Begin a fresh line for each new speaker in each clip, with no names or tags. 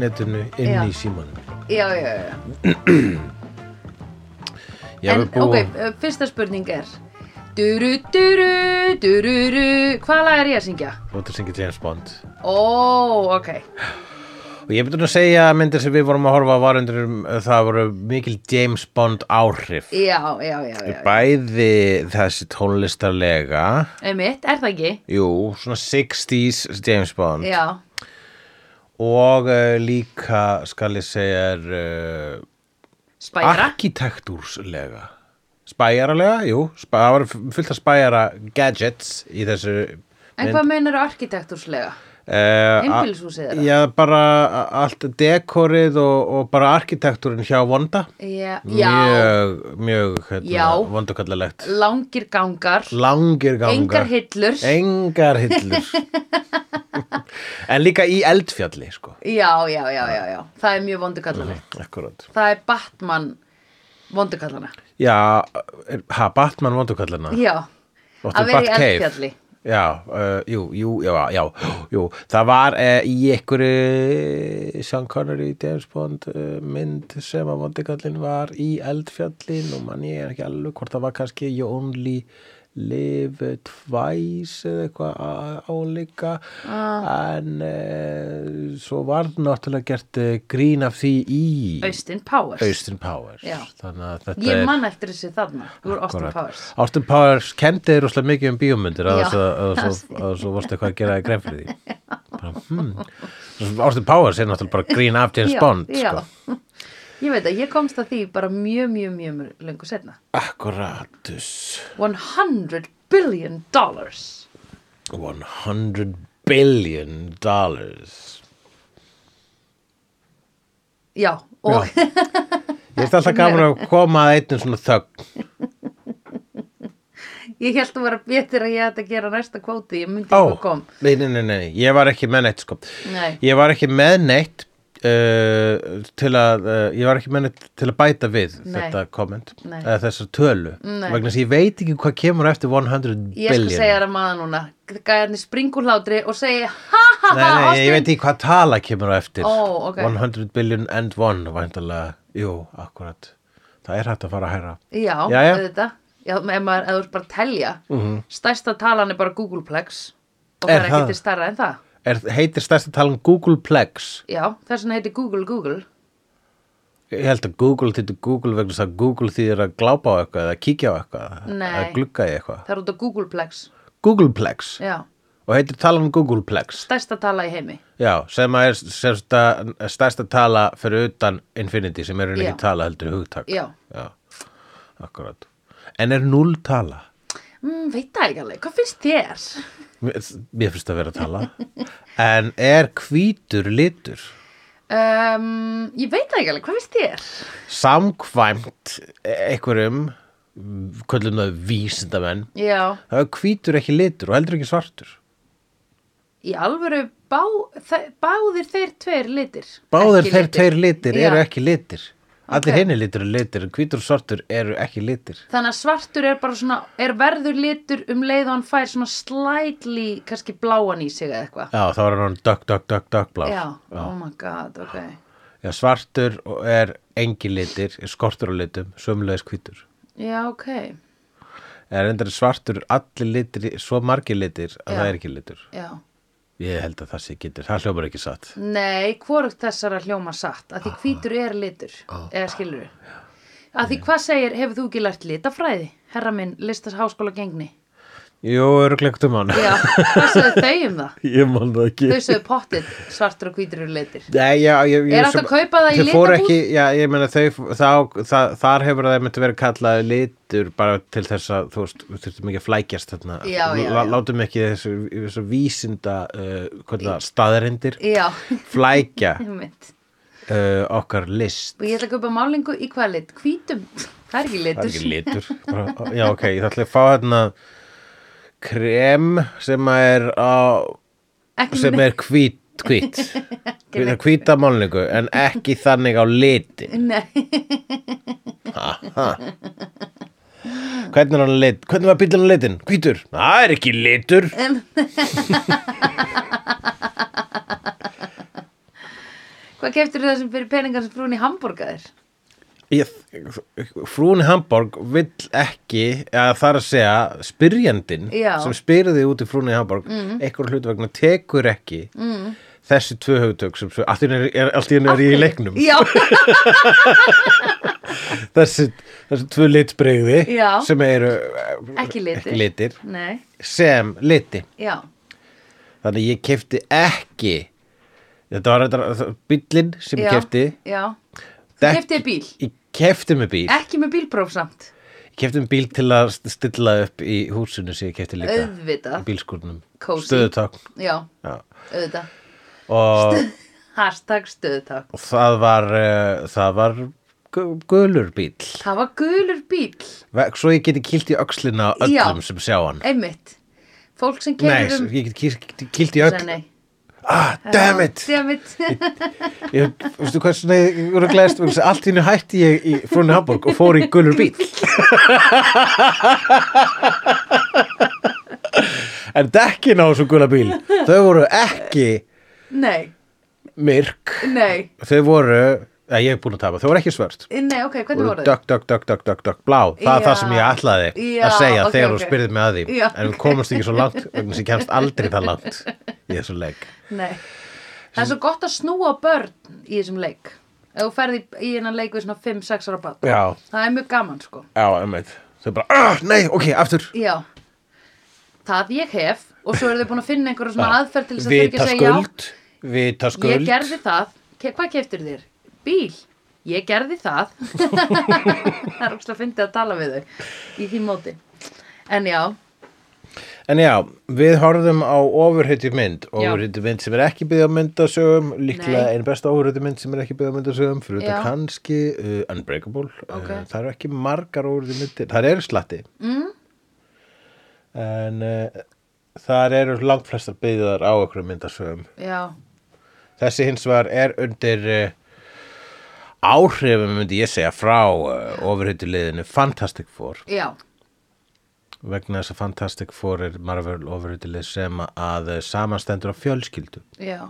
netinu eh, inn
Já.
í símanum
já, já, já.
Ég
en,
hef búið
ok, uh, fyrsta spurning er Duru, duru, dururu Hvað lag er ég að syngja?
Þú ert að syngja James Bond
Ó, ok
Og ég byrja að segja að myndir sem við vorum að horfa á varundur það voru mikil James Bond áhrif
Já, já, já, já, já.
Bæði þessi tónlistarlega
Einmitt, er það ekki?
Jú, svona 60s James Bond
Já,
og uh, líka skal ég segja er uh,
spæra
arkitektúrslega spæjaralega, jú, spæ, það var fullt af spæjara gadgets í þessu
En hvað meinar arkitektúrslega?
uh,
Einbýlishúsið þeirra?
já, bara a- allt dekorið og, og bara arkitektúrin hjá Vonda
Já, já
mjög, mjög hérna,
Já.
vondukallalegt
langir gangar
langir gangar
Engar hillur.
engar hillur en líka í eldfjalli sko
Já, já, já, já, já Það er mjög
Mhm.
vondukallanlegt
akkurat
Það er Batman vondukallana
Já, er- ha, Batman vondukallana
Já,
Óttu
að vera í
Batcave.
eldfjalli
Já, uh, jú, jú, já, já, jú Það var uh, í einhverju Sean Connery, James Bond uh, mynd sem að vondukallin var í eldfjalli Nú man ég er ekki alveg hvort það var kannski You Only Live Twice eða eitthvað á- álíka
Ah.
en uh, svo var náttúrulega gert uh, grín af því í
Austin Powers
Austin Powers
Já.
Þannig að þetta
Ég
er
man eftir þessu þarna úr Austin
Akkurat.
Powers
Austin Powers kendi þér rosalega mikið um bíómyndir að
Já.
þess að- að þess að- að svo varstu eitthvað að gera þér grein fyrir því bara, hmm. Svo Austin Powers er náttúrulega bara grín af James
Já,
Bond
já.
sko.
Ég veit að ég komst að því bara mjög, mjög, mjög mjög lengur setna
Akkuratus
100 billion dollars
100 billion dollars
Já, og
Já. Ég veist alltaf gaman að koma að einnum svona þögn
ég held að vera betur að ég ætti að gera næsta kvóti Ég myndi
Ó,
ekki kom
nei, nei, nei, nei, ég var ekki með neitt sko
Nei,
Ég var ekki með neitt uh, til að uh, ég var ekki með neitt til að bæta við
Nei.
þetta komment,
Nei.
eða þessa tölu
Nei.
vegna þess að ég veit ekki hvað kemur eftir 100
ég skal
billion
segja þér að maður núna Gæðarnir springur hlátri og segja Ha ha
Nei,
ha,
nei, ég
Austin
veit ekki hvað tala kemur á eftir
Ó, ok.
100 billion and one væntalega, jú, akkurat það er hægt að fara að hæra
Já,
Jæja.
auðvitað Já, ef maður, ef þú ert bara að telja -hmm. Stærsta talan er bara Googleplex Og
Mhm. Er
það er
það?
ekki til starra en það
er, heitir stærsta talan Googleplex
Já, þess vegna heitir Google Google
ég held að Google til Google vegna þess að Google þýðir að glápa á eitthvað eða kíkja á eitthvað
Nei.
eða glugga í eitthvað
Það er út af Googleplex
Googleplex
Já,
og heitir talan um Googleplex
stærsta tala í heimi
Já, sem að er sérsta, stærsta tala fyrir utan Infinity sem er í raun
Já.
ekki tala heldur hugtak.
Já.
Já, akkurat. En er null tala?
mm, Veit það ekki alveg, hvað finnst þér?
Mér mér finnst það vera að tala. en er hvítur litur?
Um, ég veit það ekki alveg, hvað finnst þér?
Samkvæmt einhverjum, kvöllum það vísindamenn,
Já,
það er hvítur ekki litur og heldur ekki svartur.
í alvöru bá, þa- báðir þeir tveir litir
Báðir
Ekki
þeir tveir litir
Já.
eru ekki litir. Allir
Ok.
okay. henni litur eru litir, en hvítur og svartur eru ekki litir.
Þannig að svartur er bara svona, er verður litur um leið og hann fær svona slightly, kannski bláan í sig eða eitthvað.
Já, þá er hann orðinn dökk, dökk, dökk, dökk blá.
Já, oh my god, ok.
Já, svartur og er engin litir, er skortur á litum, sömulegis hvítur.
Já, ok.
Er endur svartur allir litir, svo margir litir að
Já.
það er ekki litur.
Já.
Ég held að það sé getur, það hljómar ekki satt.
Nei, hvorugt þessara hljóma satt,
Ah.
að því hvítur er litur, eða skilur við. Að því hvað segir, hefur þú ekki lært litafræði, herra minn, listas háskóla gengni?
Jú, eru glegt um hann.
Já, hvað segðu þau um það?
Ég man það ekki.
Þau segðu pottið, svartur og hvítur eru litir.
Nei, já, ég, ég,
Er hægt að
sem-
kaupa það í
þau fóru
litabúð?
Ekki, já, ég meina þau, þá, það, þar hefur það myndi verið kallað litur bara til þess að, þú veist, við þurftum ekki að flækjast þarna.
Já, já,
Lá-
já.
Látum ekki þessu, þessu vísinda, uh, hvað er það, staðarindir,
Já,
flækja
mitt.
uh, okkar list.
Og ég ætla að kaupa málingu í hvað lit? Hvítum, það er ekki litur.
Það er ekki litur bara, Já, ok, ég ætla að fá hérna krem sem að er á
Ekki
sem er hvít, hvít hvít, hvíta málningu en ekki þannig á liti
Nei,
Hvernig er hann lit? Hvernig var bíllinn á litin? Hvítur? Það er ekki litur
Hvað keftur það sem fyrir peningar sem frún í hambúrgaðir?
Ég, frúni Hamborg vill ekki að það er að segja spyrjandin
Já. Mhm.
sem spyrði út í frúni Hamborg mm. einhver hlut vegna tekur ekki mm. þessi tvö höfutök sem svo, allt í einu er, er, allt í einu er ég í leiknum
Já,
þessi, þessi tvö litbrigði
Já.
sem eru eh,
Ekki litir.
ekki litir
nei,
sem liti
já,
þannig að ég kefti ekki þetta var þetta bíllinn sem
já
ég kefti
Já,
Dekk-
kefti bíl
ég kefti með bíl
Ekki með bílpróf samt
ég kefti með bíl til að st- stilla upp í húsinu sem ég kefti líka í
Auðvitað,
bílskurnum
Kósí.
stöðutakn
já,
Já.
auðvitað
og,
Hashtag stöðutak
og það var uh, það var gu- gulur bíl
Það var gulur bíl,
Ve- svo ég geti kilt í öxlina á öllum
Já.
sem sjá hann
einmitt Fólk sem
nei,
kefur um
ég geti kilt í öxl
Nei,
ah, damn it
Damn it
ég, veistu hvað svona ég voru glæðist vegna þess að allt í hennu hætti ég í frúni Hamburg og fór í gulur bíl en dekkin á þessum gula bíl þau voru ekki
Nei,
myrk
nei,
þau voru, eða ég er búin að tapa þau voru ekki svört
nei, ok, hvernig voru þau?
dök, dök, dök, dök, dök, dök, blá það er
Já.
það sem ég ætlaði
Já,
að segja
ok,
þegar
ok.
þú spyrðið mig að því
Já,
en við komumst ekki svo langt vegna sem ég kemst aldrei það langt í þessu leik
Nei Það er svo gott að snúa á börn í þessum leik Ef þú ferði í hennan leik við svona 5-6 ára bát
já,
Það er mjög gaman sko
já, einmitt þau bara, "Ah, nei, ok, aftur
Já Það ég hef og svo eru þau búin að finna einhverja svona aðferð til þess að þau ekki
vita
að segja já
skuld vita
Ég
skuld
gerði það, Ke hvað keftur þér? Bíl, ég gerði það Það er ógst að fyndi að tala við þau í því móti En já,
en já, við horfðum á ofurhætti mynd ofurhætti mynd sem er ekki byggð á myndasögum líklega
Nei.
einu besta ofurhætti mynd sem er ekki byggð á myndasögum fyrir þetta
Já.
kannski uh, Unbreakable
Ok.
uh, það eru ekki margar ofurhætti myndir það eru slatti
mm,
en uh, þar eru langt flestar byggðar á okkur myndasögum
já,
þessi hins vegar er undir uh, áhrifum myndi ég segja frá uh, ofurhýttuliðinu Fantastic Four
já,
vegna þess að Fantastic Four er Marvel ofurhýttulið sem að uh, samanstendur á fjölskyldu
já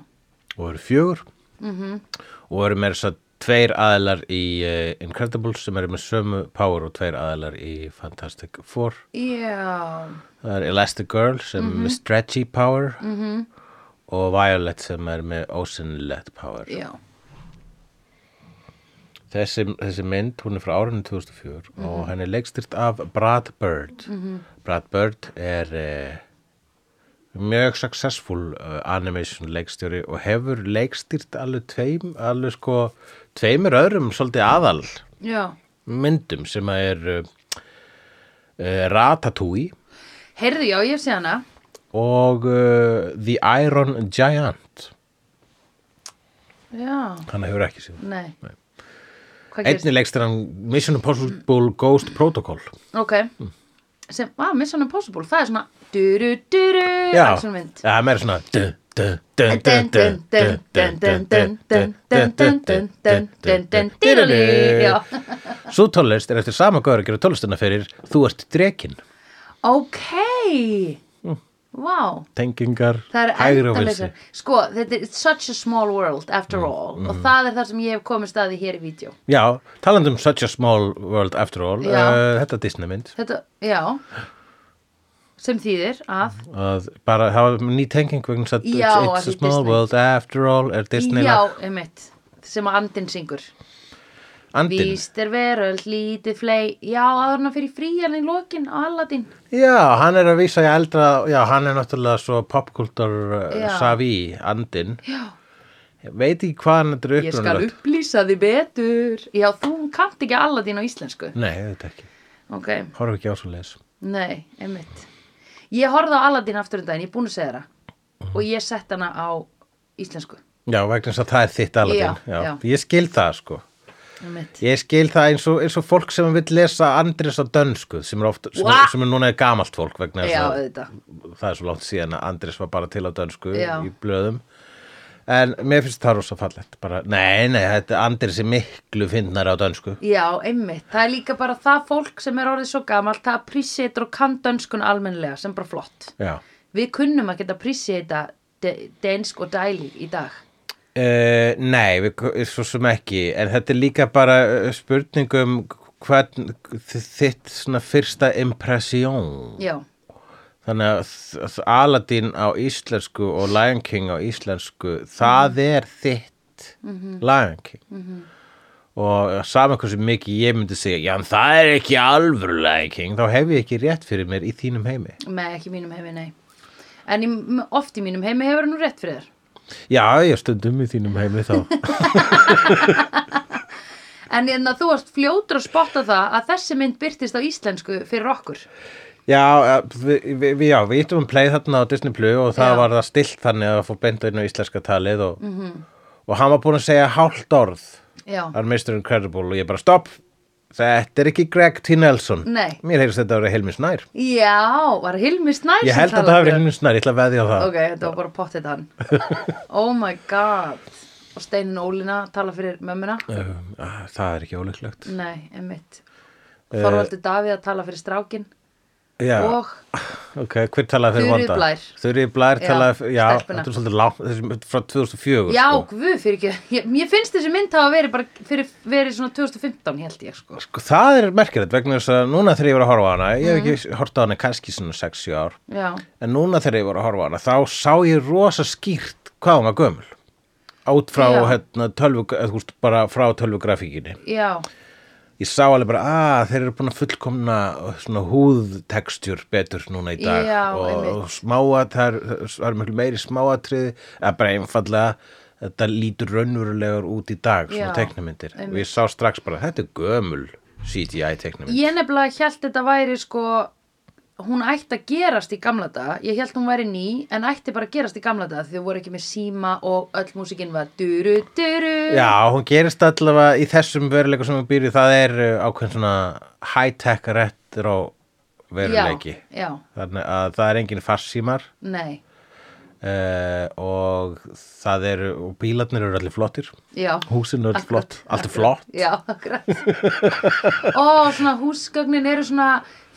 og eru fjögur og eru meira svo tveir aðilar í uh, Incredibles sem eru með sömu power og tveir aðilar í Fantastic Four
Já,
Það er Elastigirl sem er með stretchy power -hmm. og Violet sem er með ósynlegt power.
já,
Þessi, þessi mynd, hún er frá árunni 2004 og henni er leikstyrt af Brad Bird. -hmm. Brad Bird er eh, mjög successful uh, animation leikstjóri og hefur leikstyrt alveg tveim, alveg sko tveimur öðrum svolítið aðal
já
myndum sem að er uh, Ratatouille
Heyrðu, já, ég sé hana
og uh, The Iron Giant
Já,
hann hefur ekki séð
nei, Hvað gerist?
einnig legstir hann Mission Impossible Ghost Protocol
Ok, sem, að, Mission Impossible, það er svona Duru, duru,
já,
action mynd
það er meira svona dun, dun, dun, dun, dun, dun, dun, dun, dun, dun, dun, dun, dun, dun, dun, dun, dun.
Já.
Sú tónlist er eftir sama gaur að gera tónlistina fyrir Þú ert drekin
Ok Vá
tengingar,
Það er
hægri og vilsi
endalausar Sko, þetta er it's such a small world after all
mm.
og það er það sem ég hef komið staði hér í vídeo
Já, talandi um Such a Small World After All
Já.
uh, þetta Disney mynd
Þetta, já sem þýðir að
að bara það var ný tenging vegna þess að
Já,
It's-
að
It's a
því
Small
Disney.
World After All er Disney
já,
lag.
einmitt sem að andinn syngur
Andinn
Víst er veröld, lítið flei Já, aðurna fyrir frían í lokin á Aladdin
Já, hann er að vísa í eldra, já, hann er náttúrulega svo popkultur uh,
Já.
savi, andinn.
Já,
Ég Veit ekki hvað hann þetta er
ég skal
upprunalegt.
upplýsa því betur Já, þú kannt ekki Aladdin á íslensku
Nei, þetta ekki.
Ok,
Horf ekki á svo leis.
nei, einmitt Ég horfði á Aladdin aftur um daginn, ég er búin að segja það og ég sett hana á íslensku
Já, vegna þess að það er þitt Aladdin.
Já, já.
Ég skil það, sko.
einmitt
Ég skil það eins og, eins og fólk sem vill lesa Andrés á dönsku, sem er, oft, sem,
Wha-
er, sem er núna er gamalt fólk vegna
Já,
þess að
auðvitað
það er svo langt síðan að Andrés var bara til á dönsku
Já.
í blöðum. En mér finnst það rosa fallegt. Bara, nei, nei, þetta Andrés er miklu finnar á dönsku.
Já, einmitt, það er líka bara það fólk sem er orðið svo gamalt, það appreciator og kann dönskun almennlega sem bara flott
Já.
Við kunnum að geta appreciata de- densk og dælir í dag
Uh, nei, við, svo sem ekki en þetta er líka bara eh, spurning um hvern þitt svona fyrsta impressjón
já,
þannig að þ- Aladdin á íslensku og Lion King á íslensku það er þitt Lion King og saman hversu mikið ég myndi segja já, en það er ekki alvöru Lion King þá hef ég ekki rétt fyrir mér í þínum heimi
með ekki mínum heimi, nei en í, oft í mínum heimi hefur hann nú rétt fyrir þér
já, ég stundum í þínum heimi þá
en, en þú varst fljótur að spotta það að þessi mynd byrtist á íslensku fyrir okkur
Já, við, við, við- já, við íttum um play þarna á Disney Plus og það
Já. Mhm.
var það stilt þannig að fór beint inn á íslenska talið og, og hann var búin að segja hálft orð
já,
hann Mr. Incredible og ég bara stopp, þetta er ekki Greg T. Nelson
Nei.
Mér heyrðist þetta að vera Hilmi Snær
já, var Hilmi Snær
Ég
sem
held að
talaði
það hafi
fyrir?
Hilmi Snær, ég ætla að veðja á það
ok, þetta var bara pottið hann oh my god og Steinin Ólina tala fyrir mömmuna
um, að, Það er ekki ólíklegt
nei, emmitt Þorvaldur Davíð að tala fyrir strákin
Eh, já,
og
ok, hver talaði fyrir
Þuríður
Vanda?
Blær.
Þurrið Blær
Já,
talaði fyrir, já,
stelpuna.
þetta er svolítið langt þessi- frá 2004
já,
sko.
guð fyrir ekki ég, ég finnst þessi mynd hafa verið bara fyrir, verið svona 2015 held ég sko
Sko, það er merkilegt vegna þess að núna þegar ég var að horfa á hana ég hef ekki horft á hana í kannski svona 6-7 ár
já,
en núna þegar ég var að horfa á hana þá sá ég rosa skýrt hvað hún var gömul át frá
Já.
hérna, tölvu, eða, þú veist, bara frá tölvugrafíkinni
já,
ég sá alveg bara að þeir eru búin að fullkomna uh, svona húðtekstjur betur núna í dag
Já,
og,
einmitt.
og smáat það er- það eru miklu meiri smáatrið eða bara einfallega þetta lítur raunverulegur út í dag svona
Já,
teknimyndir og
einmitt.
ég sá strax bara þetta er gömul CGI teknimynd
ég nefnilega held þetta væri sko hún ætti að gerast í gamla daga ég held hún væri ný en ætti bara að gerast í gamla daga því þau voru ekki með síma og öll músikinn var duru duru
Já, hún gerist allavega í þessum veruleika sem hún býr í, það er uh, ákveðin svona high-tech retro veruleiki.
já, já,
Þannig að það er engin farsímar
nei
uh, og það eru, og bílarnir eru allir flottir,
já,
húsin eru allir flott, allt er
Akkurat,
flott.
Já, akkurat Og svona húsgögnin eru svona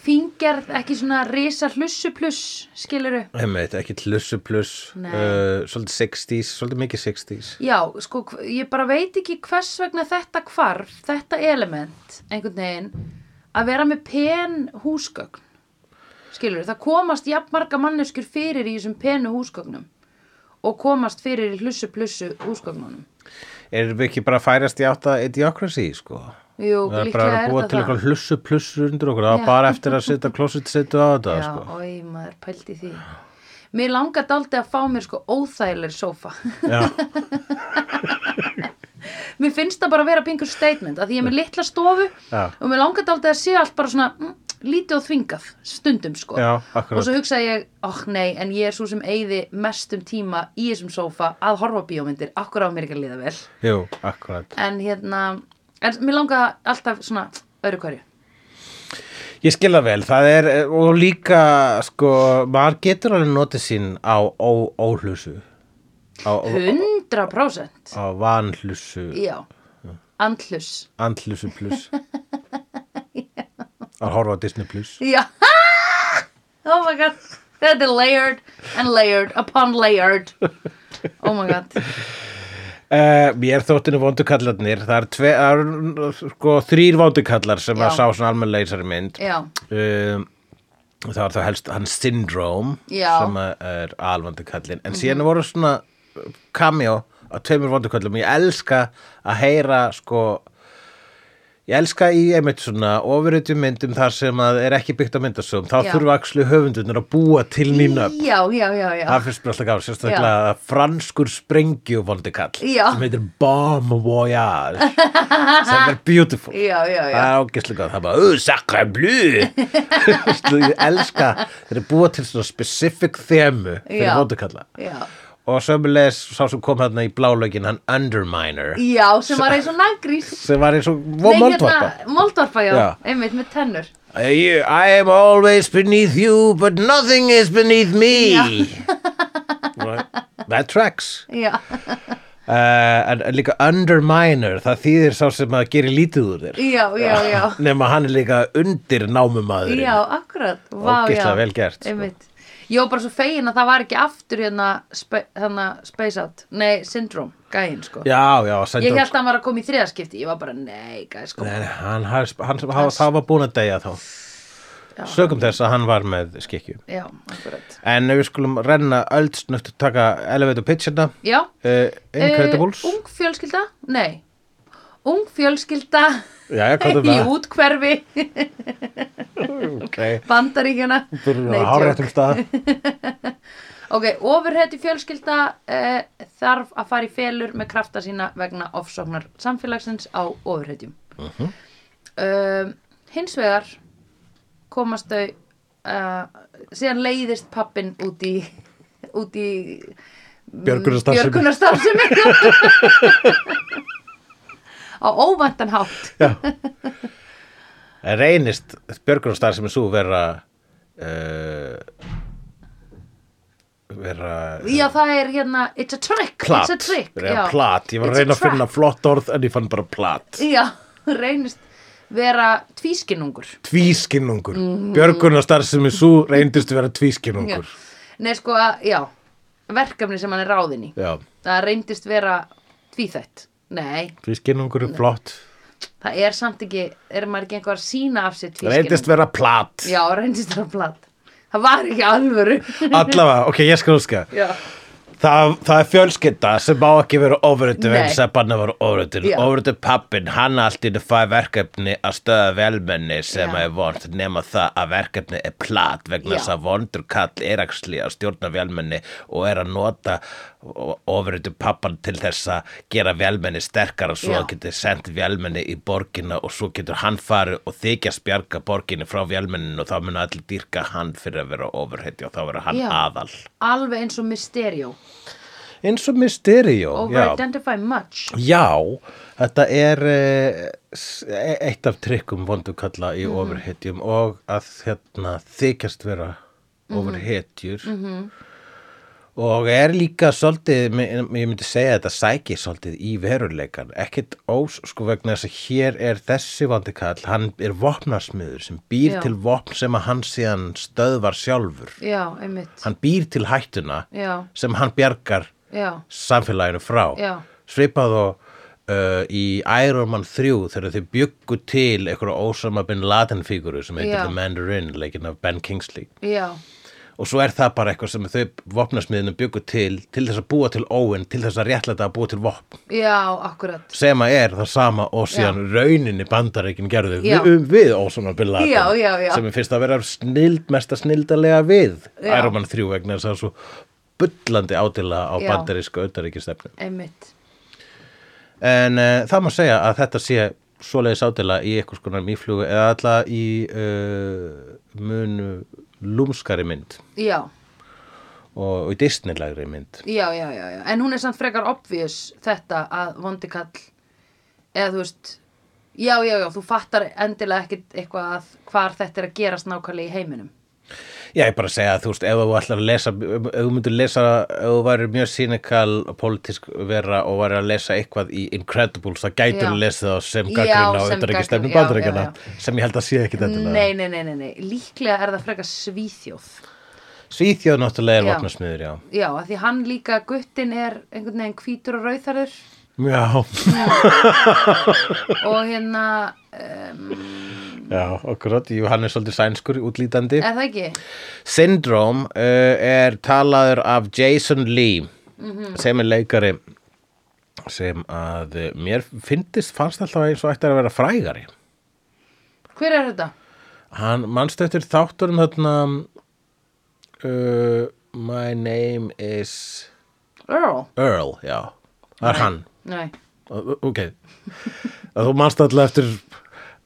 fingerð, ekki svona risa hlussu pluss, skiluru
Einmitt, ekki hlussu pluss,
Nei.
uh, svolítið 60s, svolítið mikið 60s.
Já, sko, hv- ég bara veit ekki hvers vegna þetta hvarf, þetta element, einhvern veginn, að vera með pen húsgögn. Skilur, það komast jafn marga manneskjur fyrir í þessum penu húsgögnum og komast fyrir í hlussu plussu húsgögnunum.
Erum við ekki bara að færast í átt að idiocracy, sko?
Jú,
Það er bara
líklega
að
er
búa til
það það.
eitthvað hlussu plussur undir okkur, það
Já.
var bara eftir að setja klósit setju á þetta,
Já,
sko.
oi, maður pældi því. Mér langar daldi að fá mér sko óþægilegri sófa.
Já.
mér finnst það bara að vera pingur statement að því ég er með litla stofu
Já.
og mér langar aldrei að sé allt bara svona mm, lítið og þvingað stundum sko
Já, akkurat.
og svo hugsaði ég, oh nei, en ég er svo sem eigði mestum tíma í þessum sófa að horfa á bíómyndir, akkur á mér ekki að líða vel
Jú, akkurat.
en hérna, en mér langar alltaf svona öðru hverju
Ég skil það vel, það er, eh, og líka, sko, maður getur alveg notið sín á ó- óhlusu, á, á,
100%
á vanhlusu,
já, andlus
andhlusu pluss, að horfa á Disney pluss.
já, oh my god þetta er layered and layered upon layered oh my god
Uh, ég er þóttinu vondukallarnir, það er, tve, það er sko, þrýr vondukallar sem að
Já.
sá svona almenlega í þessari mynd.
já,
um, það var þá helst hann Syndrome
Já. Mhm.
sem að er alvandu kallin en síðan voru svona cameo á tveimur vondu kallum ég elska að heyra sko ég elska í einmitt svona ofurötu myndum þar sem að er ekki byggt á myndasögum þá
Já.
þurfa akslu höfundunir að búa til nýna
já, já, já, já.
það finnst mér alltaf gáð sérstaklega að franskur sprengju vondu kall
Já.
sem heitir Bomb Voyage sem er beautiful
Já, já, já.
Það er ágæslega góð, það er bara, uh, sakra blu Ég elska þeir eru búa til svona specific þemu fyrir
Já.
hóndukalla
Já,
og sömulegis sá sem kom hérna í blálögin hann Underminer
já sem var eins og naggrís
sem var eins og vó
hérna-
moldvarpa
Moldvarpa, já,
Já.
einmitt með tennur
I I am always beneath you but nothing is beneath me Right. That tracks
Já,
uh, en, en líka Underminer það þýðir sá sem að gera lítið úr þér
já, já, já
nema hann er líka undir námumadurinn
Já, akkurat, vá,
Ógeðslega
já
vel gert, sko.
Einmitt Ég var bara svo fegin að það var ekki aftur hérna, spe, hérna Space Out, nei, Syndrome, gæinn sko.
já, já, sendur
Ég held að hann var að koma í þriðaskipti, ég var bara, nei, gæinn sko.
Nei, nei, hann, hann, hann, hann, hann var búin að deyja þá sögum þess að hann var með skikju
Já, akkurat.
en við skulum renna öldsnögt taka elevator pitchina uh,
Já.
Incredibles
Eh, ung fjölskylda, nei. Ung fjölskylda
Jæja, hvað er
í
það?
útkverfi
Okay.
bandaríkjana.
Byrjum
Nei,
að hára rétt um stað
Ok, ofurhætti fjölskylda eh, þarf að fara í felur með krafta sína vegna ofsóknar samfélagsins á ofurhættjum. Uh
Mhm.
hins vegar komast þau, uh, síðan leiðist pappin út í, út í
Björgunarstarfsemi.
björgunarstarfsemi. á óvæntan hátt.
Já. En reynist björgunarstar sem er svo vera uh, vera
Já, það er hérna, it's a trick,
plat,
it's a trick.
vera
já.
plat. ég var
It's
að reyna að
trap.
finna flott orð en ég fann bara plat
Já, reynist vera tvískinungur.
tvískinnungur, björgunarstar sem er svo reyndist vera
Já.
tvískinnungur
Nei, sko, að- já, verkefni sem hann er ráðin í.
já,
Það reyndist vera tvíþætt. Nei,
tvískinnungur er flott
það er samt ekki, er maður ekki einhver að sína af sér tvískinn?
reyndist vera plat
Já, reyndist vera platt. Það var ekki alvöru.
allavega, ok, ég skal úska
já,
Það, það er fjölskylda sem má ekki vera ofröttum
Nei.
eins að banna vera ofröttum
Já.
ofröttum pappin, hann allt í einu fæ verkefni að stöða velmenni sem
Já.
er vond nema það að verkefni er plat vegna
Já.
þess að vondur kall er axli að stjórna velmenni og er að nota ofröttum pappan til þess að gera velmenni sterkara svo
Já.
að geti sendt velmenni í borgina og svo getur hann farið og þykja spjarga borginni frá velmenninu og þá mun allir dýrka hann fyrir að vera ofurheiti og þá vera hann
Já.
aðal
alveg eins og Mysterio.
eins og Mysterio já.
Over-identify much.
já, þetta er eh, s- e- eitt af trikkum vondukalla
Mhm.
í overhetjum og að hérna, þykjast vera
Mhm.
overhetjur og er líka svolítið, me- ég myndi segja þetta sæki svolítið í veruleikan ekkit ós, sko vegna þess að hér er þessi vondukall, hann er vopnarsmiður sem býr
Já.
til vopn sem að hann síðan stöðvar sjálfur
Já, einmitt.
hann býr til hættuna
Já,
sem hann bjargar
já,
samfélaginu frá
Já.
svipað og uh, í Iron Man 3 þegar þau byggu til einhverja Osama Bin Laden fíguru sem heitir
Já.
The Mandarin leikinn af Ben Kingsley
já,
og svo er það bara eitthvað sem þau vopnarsmiðinu byggu til til þess að búa til óin til þess að réttlæta að búa til vopn
já, akkurat.
sem að er það sama og síðan rauninni bandaríkin gerðu
Já.
við, um, við Osama Bin Laden
Já, já, já.
sem er fyrst að vera snild, mesta snildalega við
Já.
Iron Man 3 vegna þess að það er svo bullandi ádila á
Já.
bandarísku auðaríkistefnu
Einmitt.
En uh, það má segja að þetta sé svoleiðis ádela í einhvers konar mýflugu eða alltaf í uh, munu lúmskari mynd
Já,
og, og í disneylægri mynd.
já, já, já, já. En hún er samt frekar obvious þetta að vondi kall eða þú veist já, já, já, þú fattar endilega ekkit eitthvað að hvar þetta er að gerast nákvæmlega í heiminum.
Já, ég bara að segja að þú veist, ef þú ætlar að lesa, ef þú myndir lesa, ef þú væri mjög sínikal pólitísk vera og væri að lesa eitthvað í Incredibles, það gætur
Já.
að lesa það sem
Já,
gagnrýna á
sem
auðvitað ekki
gagnrýna,
stefnum
já,
bandaríkjana,
já,
sem ég held að sé ekki þetta.
Nei, nei, nei, nei, nei, líklega er það frekar svíþjóð.
Svíþjóð náttúrulega er
Já.
vopnarsmiður, já.
Já, að því hann líka, guttin er einhvern veginn hvítur og rauðarður
Já,
og hérna, um,
já, akkurat, jú, hann er svolítið sænskur, útlítandi.
er það ekki?
Syndrome uh, er talaður af Jason Lee
Mhm.
sem er leikari sem að eh, mér fyndist fannst alltaf eins og ætti að vera frægari
Hver er þetta?
hann mannstu eftir þátturum þarna uh, my name is
Earl?
Earl, já það er hann,
Nei.
Uh, ok Að þú mannstu alltaf eftir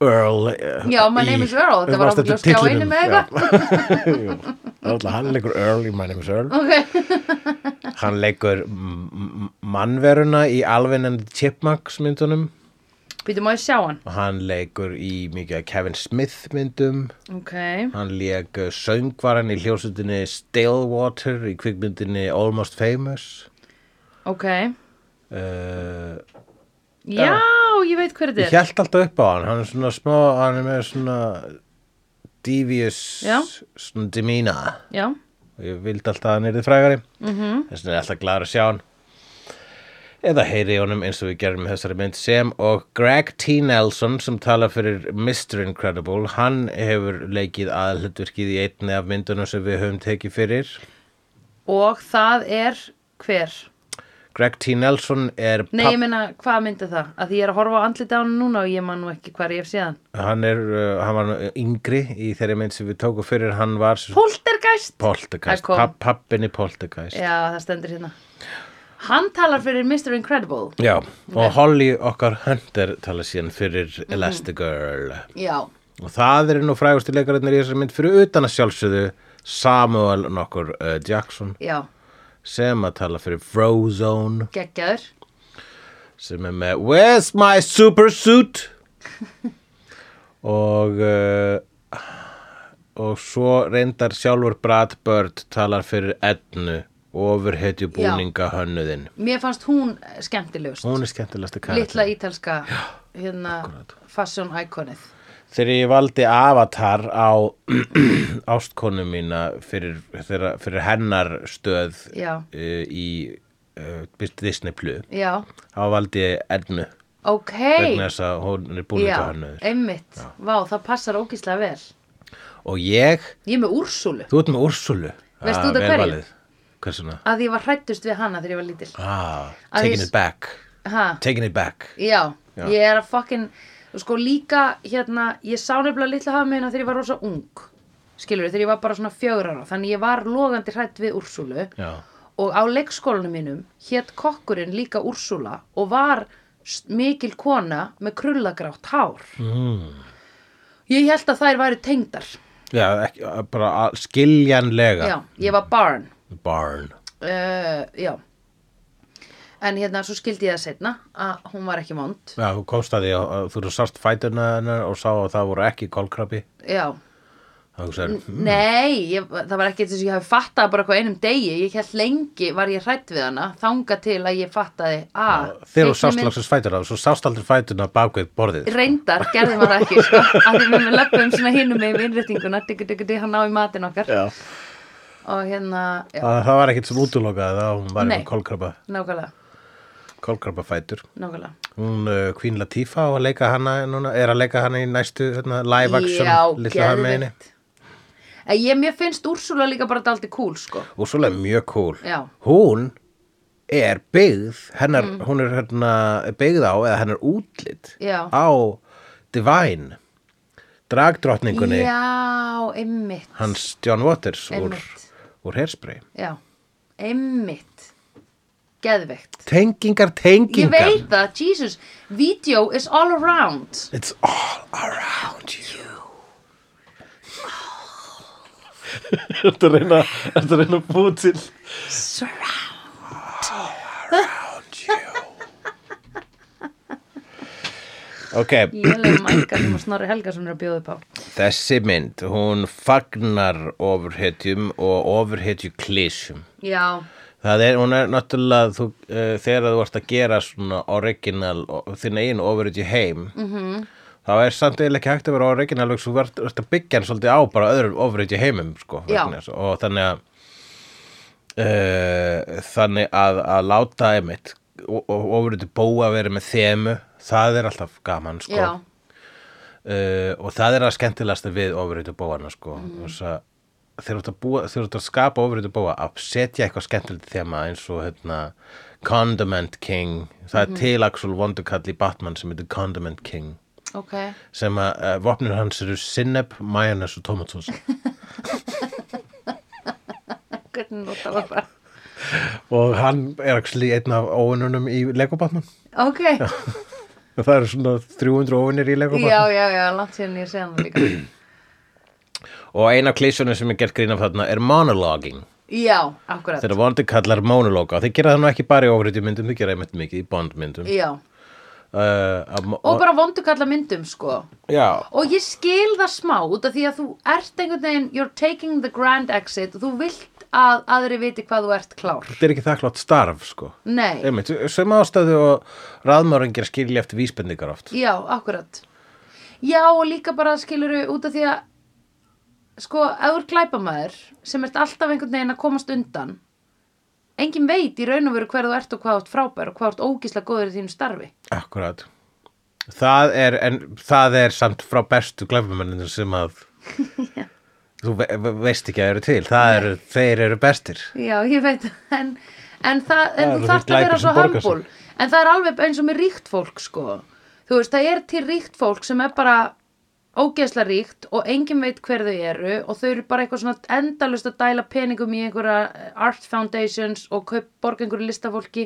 Earl eh,
Já, my
í-
name is Earl, þetta
þú
var
manst eftir
ábyggilega á skjá
titlinum,
einum eða
já. Jú. Það er alltaf hann leikur Earl í my name is Earl
Ok,
Hann leikur m- m- mannveruna í Alvin and the Chipmunks myndunum
býtum að ég sjá hann.
og hann leikur í mikið af Kevin Smith myndum
Ok,
hann leik uh, söngvaran í hljósutinni Stillwater í kvikmyndinni Almost Famous
ok.
uh,
Já, ég veit hver
Ég
þetta er.
held alltaf upp á hann hann er svona smá, hann er með svona devious
Já.
svona demeanor
Já,
og ég vildi alltaf að hann yrði frægari
Mhm.
þess vegna er ég alltaf gladur að sjá hann eða heyri í honum eins og við gerum með þessari mynd sem og Greg T. Nelson sem talar fyrir Mr. Incredible hann hefur leikið aðhlutverkið í einni af myndunum sem við höfum tekið fyrir
Og það er hver?
Greg T. Nelson er
Nei,
papp-
ég meina, hvað myndi það? Að því ég er að horfa á andlita á hann núna og ég man nú ekki hvað ég hef séðan.
hann, er, uh, hann var nú yngri í þeirri mynd sem við tókum fyrir hann var sem-
Poltergeist?
Poltergeist,
Það kom.
papp, pappinni Poltergeist
Já, það stendur hérna. Hann talar fyrir Mr. Incredible.
Já, og Holly okkar Hunter tala síðan fyrir Elastigirl
Já.
og það eru nú frægustu leikarinnir í þessari mynd fyrir utan að sjálfsögðu Samuel nokkur uh, Jackson
Já,
sem að tala fyrir Frozone
geggjaður.
sem er með Where's my super suit? og uh, og svo reyndar sjálfur Brad Bird talar fyrir Ednu ofurhetju búninga hönnuðinn
Mér fannst hún skemmtilegust.
hún er skemmtilegasta karakter
Litla ítalska, hérna, fashion iconið.
Þegar ég valdi Avatar á ástkonu mína fyrir, þeirra- fyrir hennar stöð
Já.
uh, í uh, Disney Plu,
Já,
þá valdi ég Ednu
ok.
vegna þess að hún er búin
Já,
að hönnuður.
einmitt. Vá, það passar ógíslega vel.
Og ég,
Ég er með Úrsúlu.
þú ert með Úrsulu.
Veist
Ah,
þú út af
vel
hverju?
valið. Hvers vegna?
Að ég var hrættust við hana þegar ég var lítil.
Ah,
Að
taking
ég-
it back.
Ha?
Taking it back.
Já,
Já.
ég er að fucking sko líka hérna, ég sá nefnilega litla hafa meina þegar ég var rosa ung skilur þegar ég var bara svona fjögur ára þannig ég var logandi hrætt við Úrsúlu
Já.
og á leikskólanum mínum hétt kokkurinn líka Úrsúla og var s- mikil kona með krullagrátt hár mm. ég held að þær væri tengdar
Já, ekki, bara að- skiljanlega.
já, ég var barn
Barn.
uh, já en hérna svo skildi ég það setna að hún var ekki mond
Já, þú komst að því að að þú eru sást fætuna hennar og sá að það voru ekki kolkrabi.
já,
Þá hugsaður, hm,
Mm. Nei, ég, það var ekki eins og ég hafi fattað bara eitthvað á einum degi, ég held lengi var ég hrætt við hana, þanga til að ég fattaði "Ah, að
þegar þú
teiknimynd-
sást lagsins fætuna svo sást aldrei fætuna bakvið borðið
reyndar gerði maður ekki sko, að því við með löpum svona hinum með innréttinguna, diggu diggu diggu, hann á í matinn okkar
Já.
og hérna, já,
það, það var ekkit sem útlokaði það hún var
Nei.
með kolkrabba,
nákvæmlega
kolkrabba fætur
nákvæmlega,
hún uh, Queen Latifah á að leika hana núna, er að leika hana í næstu hérna, live action
já,
litla harmeginni
geðvikt En ég, mér finnst Úrsula líka bara daldi cool sko,
og svolega mjög cool
Já. Mm.
hún er byggð hennar, hún er hérna, byggð á eða hennar útlit
Já.
á Divine dragdrottningunni
já, einmitt
hans John Waters úr,
Einmitt.
úr hairspray
já, einmitt geðveikt
tengingar,
Ég
tengingar
veit það, Jesus, video is all around.
It's all around you Þetta reyna Þetta reyna að búi til
Surround.
Around you Ok,
Lélega mækar sem að Snorri Helgason er að bjóða upp á.
þessi mynd hún fagnar ofurhetjum og ofurhetju klísjum
Já,
Það er, hún er náttúrulega þú, uh, þegar þú ert að gera svona original, o- þinn eigin ofurhetju heim -hmm.
Mhm.
þá er samt eiginlega ekki hægt að vera original og þú ert, ert að byggja hann svolítið á bara öðrum ofurhetju heimum sko,
Já.
vegna þess. og þannig að uh, þannig að, að láta einmitt ofurhetju bóa verið með þemu það er alltaf gaman sko
já,
uh, og það er að skemmtilegasta við ofurreitu bóana sko mm. þeir eru að, búa, þeir eru að skapa ofurreitu bóa að setja eitthvað skemmtilegt þema eins og hérna Condiment King það er til Axel Vondukall í Batman sem heitir Condiment King
ok.
sem að uh, vopnir hans eru sinneb, majónes og tomatsós
Hvernig nota var bara.
og hann er actually einn af óununum í Lego Batman
Ok,
og það eru svona 300 óunir í Lego Batman
já, já, já, langt síðan ég sé hann líka.
og eina klísunum sem er gert grín af þarna er monologing
Já, akkurat.
Þeirra vondi kallar monológa Þeir gera það nú ekki bara í ofrýttu myndum Þeir gera einmitt mikið í bondmyndum Eh,
Já, og
uh,
bara vondukalla myndum, sko.
Já,
Og ég skil það smá út af því að þú ert einhvern veginn, you're taking the grand exit og þú vilt að aðri viti hvað þú ert klár.
þetta er ekki þakklátt starf sko.
Nei,
einmitt, Sem ástæðu og ráðmörðingir skilja eftir vísbendingar oft
Já, akkurat. Já, og líka bara skiluru út af því að sko, ef þú er glæpamaður sem ert alltaf einhvern veginn að komast undan engin veit í raun og veru hver þú ert og hvað þú ert frábær og hvað þú ert ógíslega góður í þínu starfi
Akkurát. Það er, en það er samt frá bestu glæfumennir sem að þú ve ve veist ekki að eru til. Það eru, þeir eru bestir.
Já, ég veit það, en, en, það,
Það
en þú
eru
þarft
þeir
að vera
glæpir
svo
sem borga sig.
humble en það er alveg eins og með ríkt fólk sko, þú veist, það er til ríkt fólk sem er bara ógeðslega ríkt og enginn veit hver þau eru og þau eru bara eitthvað svona endalust að dæla peningum í einhverja eh, art foundations og kaup borga einhverju listafólki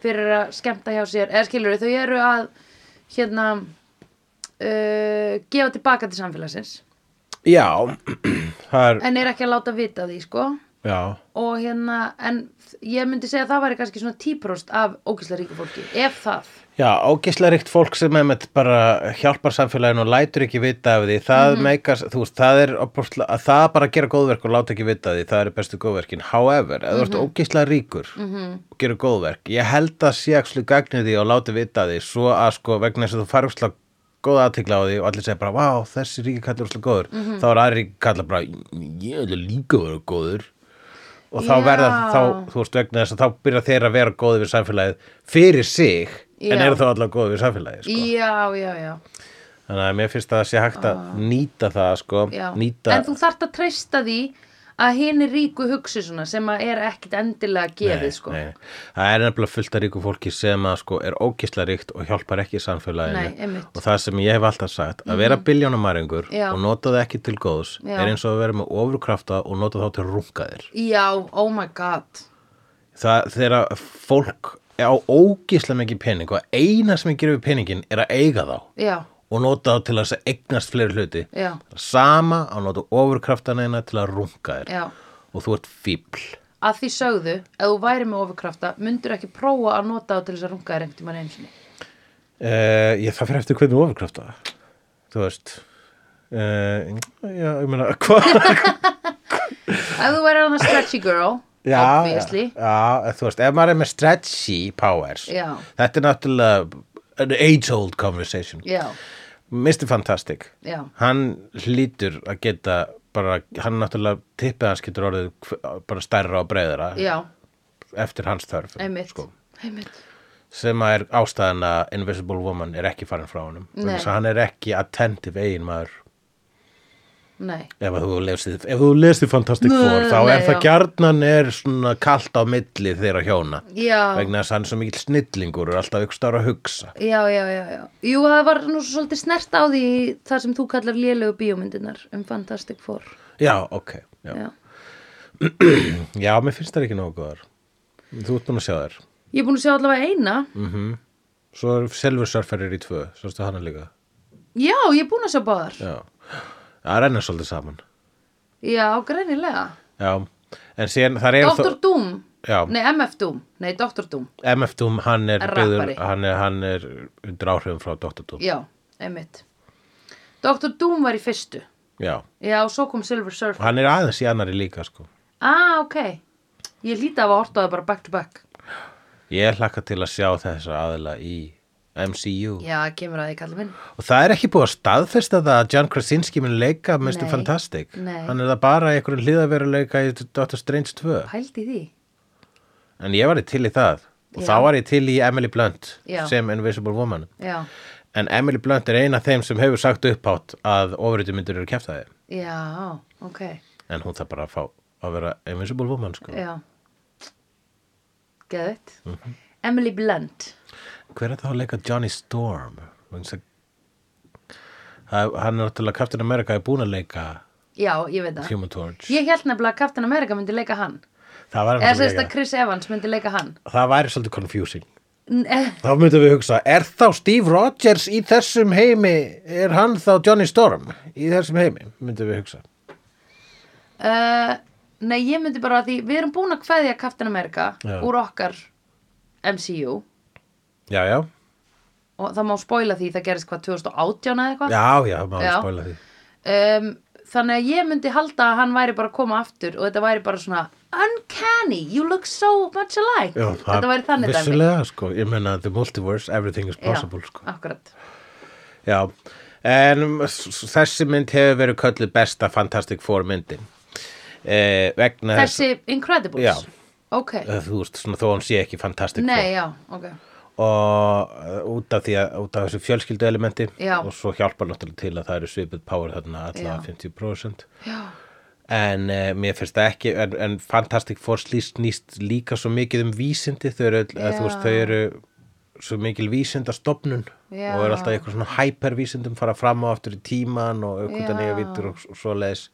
fyrir að skemmta hjá sér eða skilur þau eru að hérna uh, gefa tilbaka til samfélagsins
Já, það er,
en er ekki að láta vita af því sko
já,
og hérna, en ég myndi segja að það væri kannski svona 10% af ógæslega ríku fólki, ef það
já, ógislega ríkt fólk sem einmitt bara hjálpar samfélaginu og lætur ekki vita af því. Það mm þú veist, það er, opposla- að það bara að gera góðverk og láta ekki vita af því, það eru bestu góðverkin. However, ef þú ert ógislega ríkur og gerir góðverk, ég held að sé að gagnið því og láti vita af því svo að sko vegna þess að þú farið úrslega góða aðtikla á því og allir segja bara, vá, þessi ríki kallar úrslega góður. Þá er aðri ríki kallar bara, ég vil líka vera góður. og þá
Já.
verða þá, þú veist vegna þess að þá byrja þeir að vera góði við samfélagið fyrir sig en
Já.
eru þá allavega góði við samfélagið sko.
já, já, já,
þannig að mér finnst að það sé hægt að nýta það sko,
Ah. já.
nýta,
en þú þarft að treysta því að hinn er ríku hugsi svona sem að er ekkit endilega gefið sko.
nei, það er nefnilega fullt af ríku fólki sem að sko er ógislega ríkt og hjálpar ekki samfélaginu
Nei, einmitt. Mhm.
og það sem ég hef alltaf sagt, að vera biljónumæringur
Já.
og nota það ekki til góðs
Já.
er eins og að vera með ofurkrafta og nota þá til rungaðir
já, oh my god
það þegar fólk á ógislega mikið pening og eina sem ég gerir við peningin er að eiga þá
já,
og nota þá til þess að eignast fleiri hluti
já,
sama að nota ofurkraftan eina til að runga þér
já
og þú ert fíbl
að því sögðu, ef þú væri með ofurkrafta myndur ekki prófa að nota það til þess að runga þér einhvern tímann einu sinni
uh, ég það fyrir eftir hvernig ofurkrafta þú veist uh, já, ég meina hvað
ef þú væri hann að stretchy girl
Já,
obviously,
já, já, eh, þú veist, ef maður er með stretchy powers,
Já.
þetta er náttúrulega an age-old conversation.
já,
Mr. Fantastic,
já,
hann hlýtur að geta bara, hann náttúrulega tippið hans getur orðið hv- bara stærra og breyðara
já,
eftir hans þörf
einmitt
sko.
einmitt,
sem að er ástæðan að Invisible Woman er ekki farin frá honum
Nei.
þannig að hann er ekki attentive eigin maður
nei
ef að þú lesið, ef þú lesið Fantastic
Nei,
Four þá er
nei,
það
já.
gjarnan er svona kalt á milli þeirra hjóna
Já,
vegna þess að hann er svo mikill snillingur og er alltaf ykkur stára að hugsa
já, já, já, já. Jú, það var nú svo svolítið snert á því þar sem þú kallar lélegu bíómyndinar um Fantastic Four.
já, ok, já,
Já.
já mér finnst það ekki nógu góðar þú ert búin að sjá þær
Ég er búin að sjá allavega eina.
Mm. Svo er Silver Surfer er í tvö, svo stu hana líka.
Já, ég er búin að sjá báðar. Já,
Já, það renna svolítið saman.
greinilega.
Já, en síðan þar eru
Dr. Doom.
Já.
Nei, MF Doom. Nei, Dr. Doom.
MF Doom, hann er,
En
byggður,
rappari.
hann er, hann er undir áhrifum frá Dr. Doom.
Já, einmitt. Dr. Doom var í fyrstu.
Já,
Já, og svo kom Silver Surfer.
hann er aðeins í annari líka, sko.
Ah, ok. Ég hlýta af að horta á það bara back to back.
Ég hlakka til að sjá þessa aðila í MCU.
Já, kemur að því kallum minn.
Og það er ekki búið að staðfesta það að John Krasinski mun leika Mr.
Nei.
Fantastic.
Nei.
Hann er það bara í einhverjum hliðaveruleika í Dr. Strange 2.
Pældi í því.
En ég var í til í það. Og
Já.
þá var ég til í Emily Blunt
Já.
sem Invisible Woman.
Já,
En Emily Blunt er eina af þeim sem hefur sagt upphátt að ofriðmyndur eru kæftæði.
já, ok.
En hún þarf bara að fá að vera Invisible Woman, sko.
Já Geðvitt
Mhm.
Emily Blunt
Hver er það að leika Johnny Storm? Vegna þess að- Það- Hann er náttúrulega Captain America er búin að leika
Já, ég veit það
Human Torch.
Ég held nefnilega að Captain America myndi leika hann
Það væri,
Eða sérst að
náttúrulega-
Chris Evans myndi leika hann
það væri svolítið confusing.
N- eh,
Þá myndum við hugsa, er þá Steve Rogers í þessum heimi, er hann þá Johnny Storm í þessum heimi, myndum við hugsa.
uh, Nei, ég myndi bara að því Við erum búin að kveðja Captain America
Já.
Úr okkar MCU
Já, já,
Og það má spoila því það gerist hvað 2018 eða eitthvað
já, já, maður
Já.
spóla því.
um, Þannig að ég myndi halda að hann væri bara að koma aftur Og þetta væri bara svona Uncanny, you look so much alike
Já,
Þetta væri þannig dæmi.
vissulega, sko, ég meina the multiverse, everything is
Já,
possible, sko.
Akkurat
Já, en um, s- s- þessi mynd hefur verið kölluð besta Fantastic Four myndin eh, vegna þess-
Þessi Incredibles?
Já.
Ok.
eh, þú veist, svona, þó hún sé ekki Fantastic
Nei, já, ok.
Four og eh, út af því að út af þessu fjölskyldu elementi
Já.
og svo hjálpar náttúrulega til að það eru svipið power þarna
Já.
allavega 50%
Já,
en uh, mér finnst það ekki en, en Fantastic Four slýst nýst líka svo mikið um vísindi þau eru, yeah.
Já.
þú veist, þau eru svo mikil vísindastofnun
Já.
og eru alltaf í eitthvað svona hypervísindum fara fram og aftur í tíman og aukvitað
Já.
nýja vítur og, og svo leis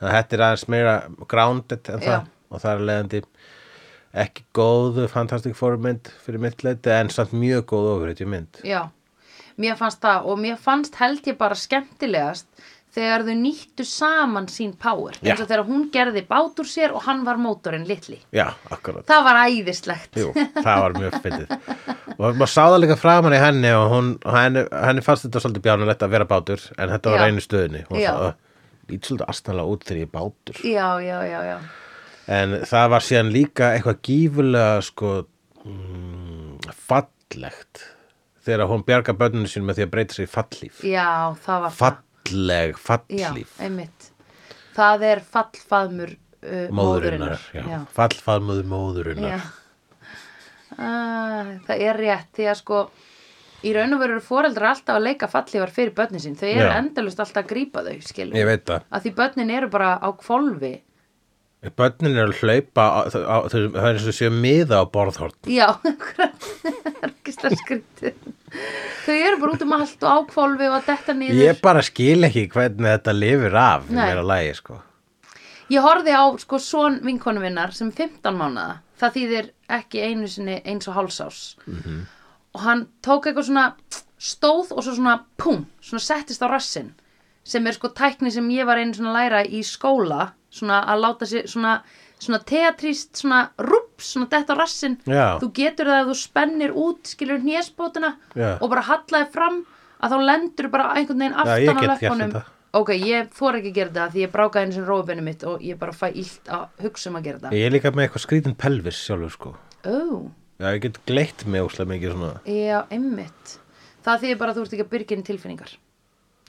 þannig að þetta er aðeins meira grounded en
Já.
það og það er leiðandi ekki góð Fantastic Four mynd fyrir mitt leiti en samt mjög góð ofurheitju mynd
já. Mér fannst það og mér fannst held ég bara skemmtilegast þegar þau nýttu saman sín power.
Já.
Eins og þegar hún gerði bát úr sér og hann var mótorinn litli.
já, akkurat
Það var æðislegt.
Jú, það var mjög fyndið og maður sá það líka framan í henni og hún, henni, henni fannst þetta svolítið bjánulegt að vera bátur en þetta var
Já.
einu stöðinni hún
Já.
sá, lít svolítið astnalega út þegar ég er bátur
Já, já, já, já.
en það var síðan líka eitthvað gífulega sko mm, fallegt þegar hún bjarga bönninu sín með því að breyta sig í falllíf
Já, það var það.
falleg
Já,
falllíf
einmitt. Það er fallfaðmur uh,
móðurinnar, já.
Já.
fallfaðmöður móðurinnar
Já. Ah, það er rétt því að sko í raun og veru eru foreldrar alltaf að leika fallívar fyrir börnin sín þau eru
Já.
endalust alltaf að grípa þau skilur
ég veit það
að því börnin eru bara á kvolfi
Bönnin eru að hlaupa, á- á- þau- það er eins og séu miða á borðhorn.
já, það er ekki stær skrítið þau eru bara út um allt og á kvolfi og að detta niður
Ég bara skil ekki hvernig þetta lifir af í
Nei.
meira lagi, sko.
ég horfði á sko son vinkonu minnar sem 15 mánada það þýðir ekki einu sinni eins og hálsás
Mhm.
-hmm. og hann tók eitthvað svona stóð og svo svona pum svona settist á rassin sem er sko tækni sem ég var einu svona að læra í skóla svona að láta sér svona svona teatrist, svona rúps svona dett á rassin,
Já.
þú getur það að þú spennir út, skilur hnésbótina
Já.
og bara hallaði fram að þá lendur bara einhvern veginn
Já, ég
aftan á
get gert
löppunum
þetta.
ok, ég þor ekki að gera þetta því ég brákaði einu sinni rófinu mitt og ég bara fæ illt að hugsa um að gera þetta
Ég er líka með eitthvað skrítin pelvis sjálfur, sko.
ó,
Já, ég get gleitt mig úslega mikið svona.
já, einmitt það þýðir bara að þú ert ekki að byrgin tilfinningar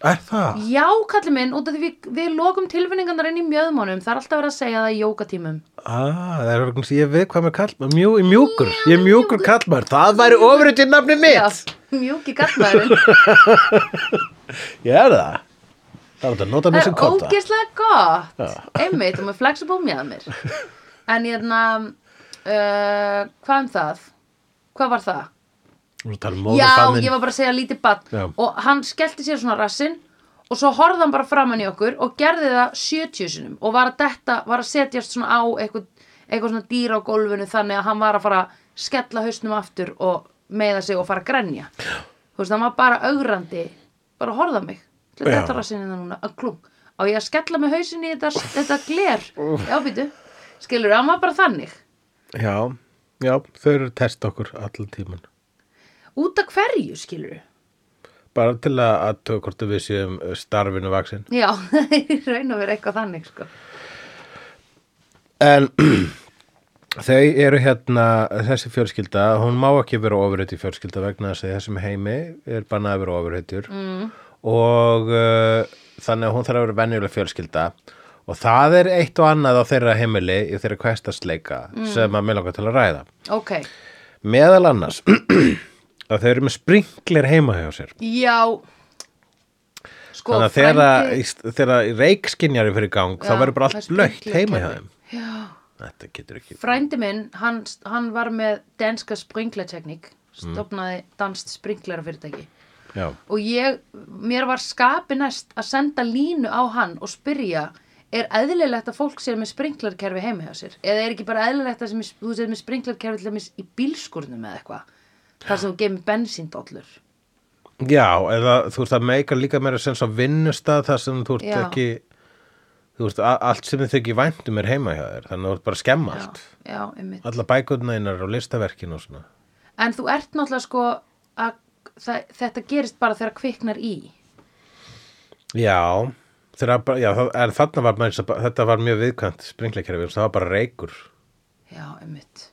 Er það?
já, kallið minn, út af því við, við lokum tilfinningarnar inn í mjöðmónum, það er alltaf verið að segja það í jókatímum
Ah, það er vegna sem ég veit hvað með kallmar. Mjú, mjúkur, ég er mjúkur kallmar. Það væri ofrið til nafni mitt.
já, mjúki gallmaðurinn
Ég er það. Það er þetta að nota mig
það
sem
er
kóta.
ógeðslega gott einmitt og með flexible mjöðmir en ég erna uh, hvað um það? hvað var það?
Þú erum að tala um
Já,
móðurfaðminn.
ég var bara að segja lítið bann
Já.
og hann skellti sér svona rassinn og svo horfði hann bara framan í okkur og gerði það 70 sinum og var að detta, var að setjast svona á eitthvað, eitthvað svona dýr á gólfinu þannig að hann var að fara að skella hausnum aftur og meiða sig og fara að grenja þú veist, hann var bara augrandi bara horfði á mig Ætli
Já.
þetta rassinn innan núna, að klung á ég að skella með hausinni í þetta, þetta gler já, býtu, skilur, hann var bara þannig
Já, já, þau eru að testa okkur allan tíman.
út af hverju, skilur
Bara til að að töða hvort að við séum eh, starfinu vaksin.
já, í raun og vera eitthvað þannig sko.
En þau eru hérna, þessi fjölskylda, hún má ekki vera ofurheiti fjölskylda vegna þess að í þessum heimi er bannað að vera ofurheitur mm. og uh, þannig að hún þarf að vera venjuleg fjölskylda og það er eitt og annað á þeirra heimili í þeirra kvestastleika
Mm.
sem að mér langar til að ræða.
ok,
Meðal annars að þau eru með sprinkler heima hjá sér.
Já sko,
Þannig að
frændi-
þeirra, þeirra reikskynjar er fyrir gang þá
Já,
verður bara
með
allt blökt heima hjá
sprinklerkerfi.
þeim.
Já.
Þetta getur ekki.
Frændi minn, hann, hann var með danska sprinklerteknik
Mm.
stopnaði danst sprinklerafyrirtæki
Já.
og ég, mér var skapi næst að senda línu á hann og spyrja er eðlilegt að fólk sé með sprinklerkerfi heima hjá sér eða er ekki bara eðlilegt að sem, í- þú sé með sprinklerkerfi til dæmis í bílskurnum eða eitthvað þar sem þú gemir bensíndóllur
Já, eða þú veist að meika líka meira sens á vinnustað þar sem þú ert
Já.
ekki þú veist, a- allt sem þið þykir væntum er heima hjá þér, þannig að þú ert bara að skemma
Já,
allt
já, einmitt
alla bækurnaðinnar og listaverkin og svona
En þú ert náttúrulega sko að það, þetta gerist bara þegar kviknar í.
Já, þegar bara, já, það, en þarna var maður, þetta var mjög viðkvæmt springleikerfi, það var bara reykur
Já, einmitt.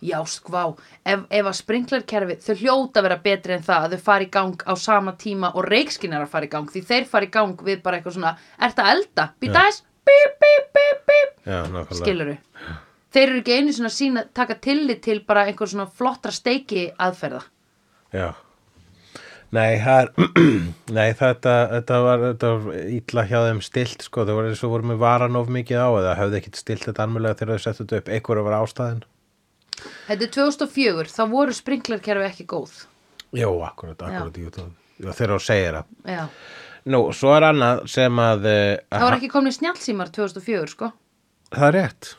já skvá, ef, ef að sprinklerkerfi, þau hljóta að vera betri en það að þau fara í gang á sama tíma og reikskinar að fara í gang, því þeir fara í gang við bara eitthvað svona, ert að elda, býta þess, bíp, bíp, bíp, bíp,
já, nákvæmlega
skiluru. Þeir eru ekki einu svona sína, taka tillit til bara einhver svona flottra steiki aðferða.
já. Nei, það er, nei þetta, þetta, var, þetta var illa hjá þeim stilt sko, það var eins og voru með varan of mikið á eða höfðu ekkit stilt þetta anmjölega þegar þau settu þetta upp einhverju var ástæðin
Þetta er 2004, þá voru sprinklerkerfi ekki góð.
Jó, akkurat, akkurat já. Já, þegar þú segir það
Já.
Nú, svo er annað sem að eh,
Það voru ekki komni snjálsímar 2004, sko.
það er rétt,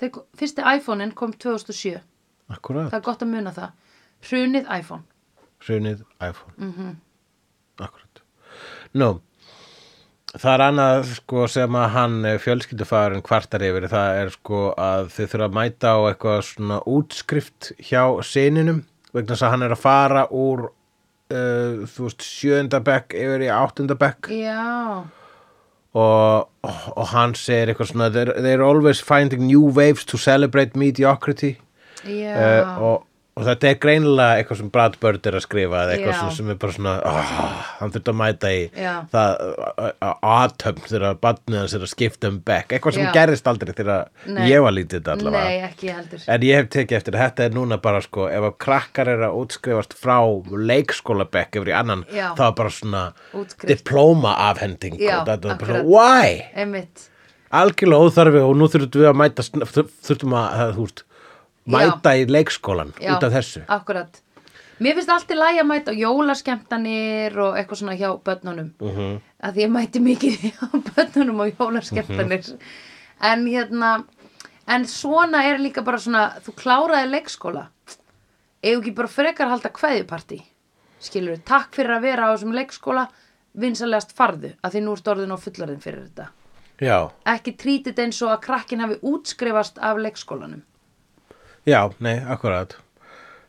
Þeir, ko- fyrsti iPhone-in kom 2007.
akkurat
Það er gott að muna það. Hrunið iPhone.
hrunið iPhone mm
Mhm.
-hmm. akkurat nú það er annað sko sem að hann fjölskyldufarinn kvartar yfir það er sko að þau þurfa að mæta á eitthvað svona útskrift hjá sininum vegna þess að hann er að fara úr uh, þú veist sjöunda bekk yfir í áttunda bekk
Já.
og, og hann segir eitthvað svona they're, they're always finding new waves to celebrate mediocrity
Já.
uh, og, og þetta er greinilega eitthvað sem Brad Bird er að skrifa eða eitthvað
Já.
svona sem er bara svona oh, hann þurft að mæta í
Já.
það uh, uh, aðtöfn þegar barnið hans er að skipta um bekk eitthvað sem
Já.
gerðist aldrei þegar
Nei.
ég var lítið allavega
Nei, ekki heldur.
En ég hef tekið eftir að þetta er núna bara sko ef að krakkar er að útskrifast frá leikskólabekk yfir í annan
Já.
þá er bara svona
Útskrift.
diplóma afhending
Já,
og þetta er bara svona
akkurat.
why?
Einmitt.
algjörlega óþarfi og nú þurftum við að mæta sn- þur- þurftum að, að þú veist mæta í leikskólan
Já,
út af þessu
Akkurat. Mér finnst allt í lagi að mæta á jólaskemmtanir og eitthvað svona hjá börnunum. Uh
Mhm.
-huh. Að því ég mæti mikið á börnunum á jólaskemmtanir.
Mhm.
En hérna, en svona er líka bara svona, þú kláraði leikskóla. Eða ekki bara frekar að halda kveðjupartí. Skilur við, takk fyrir að vera á þessum leikskóla, vinsalegast farðu. Að því nú ertu orðin á fullarðin fyrir þetta.
já,
Ekki trítið eins og að krakkin hafi útskrifast af leikskólanum.
já, nei, akkurat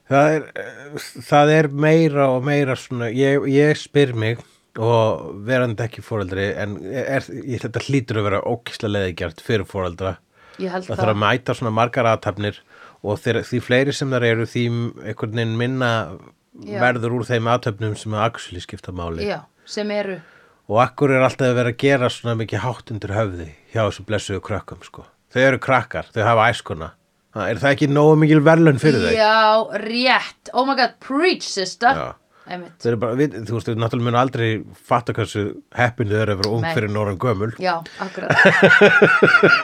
það er, eh, það er meira og meira svona ég, ég spyr mig og verandi ekki fóreldri en er, ég, þetta hlýtur að vera ókislega leðigjart fyrir fóreldra
Ég held
það þarf að mæta svona margar aðtapnir og þeir, því fleiri sem þar eru því einhvern veginn minna
Já.
verður úr þeim aðtöfnum sem að axli skipta máli
Já, sem eru...
Og akkur er alltaf að vera að gera svona mikið hátt undir höfði hjá þessu blessuðu krökkum, sko. Þau eru krakkar, þau hafa æskuna. Ha, Er það ekki nógu mikil verðlun fyrir þau?
Já, rétt. Oh my god, preach, sister.
Já.
Einmitt.
Þau eru bara, við, þú veist, þau náttúrulega mun aldrei fatta hversu heppin þau eru að vera ung
Nei.
fyrir norðan gömul.
Já, akkurat.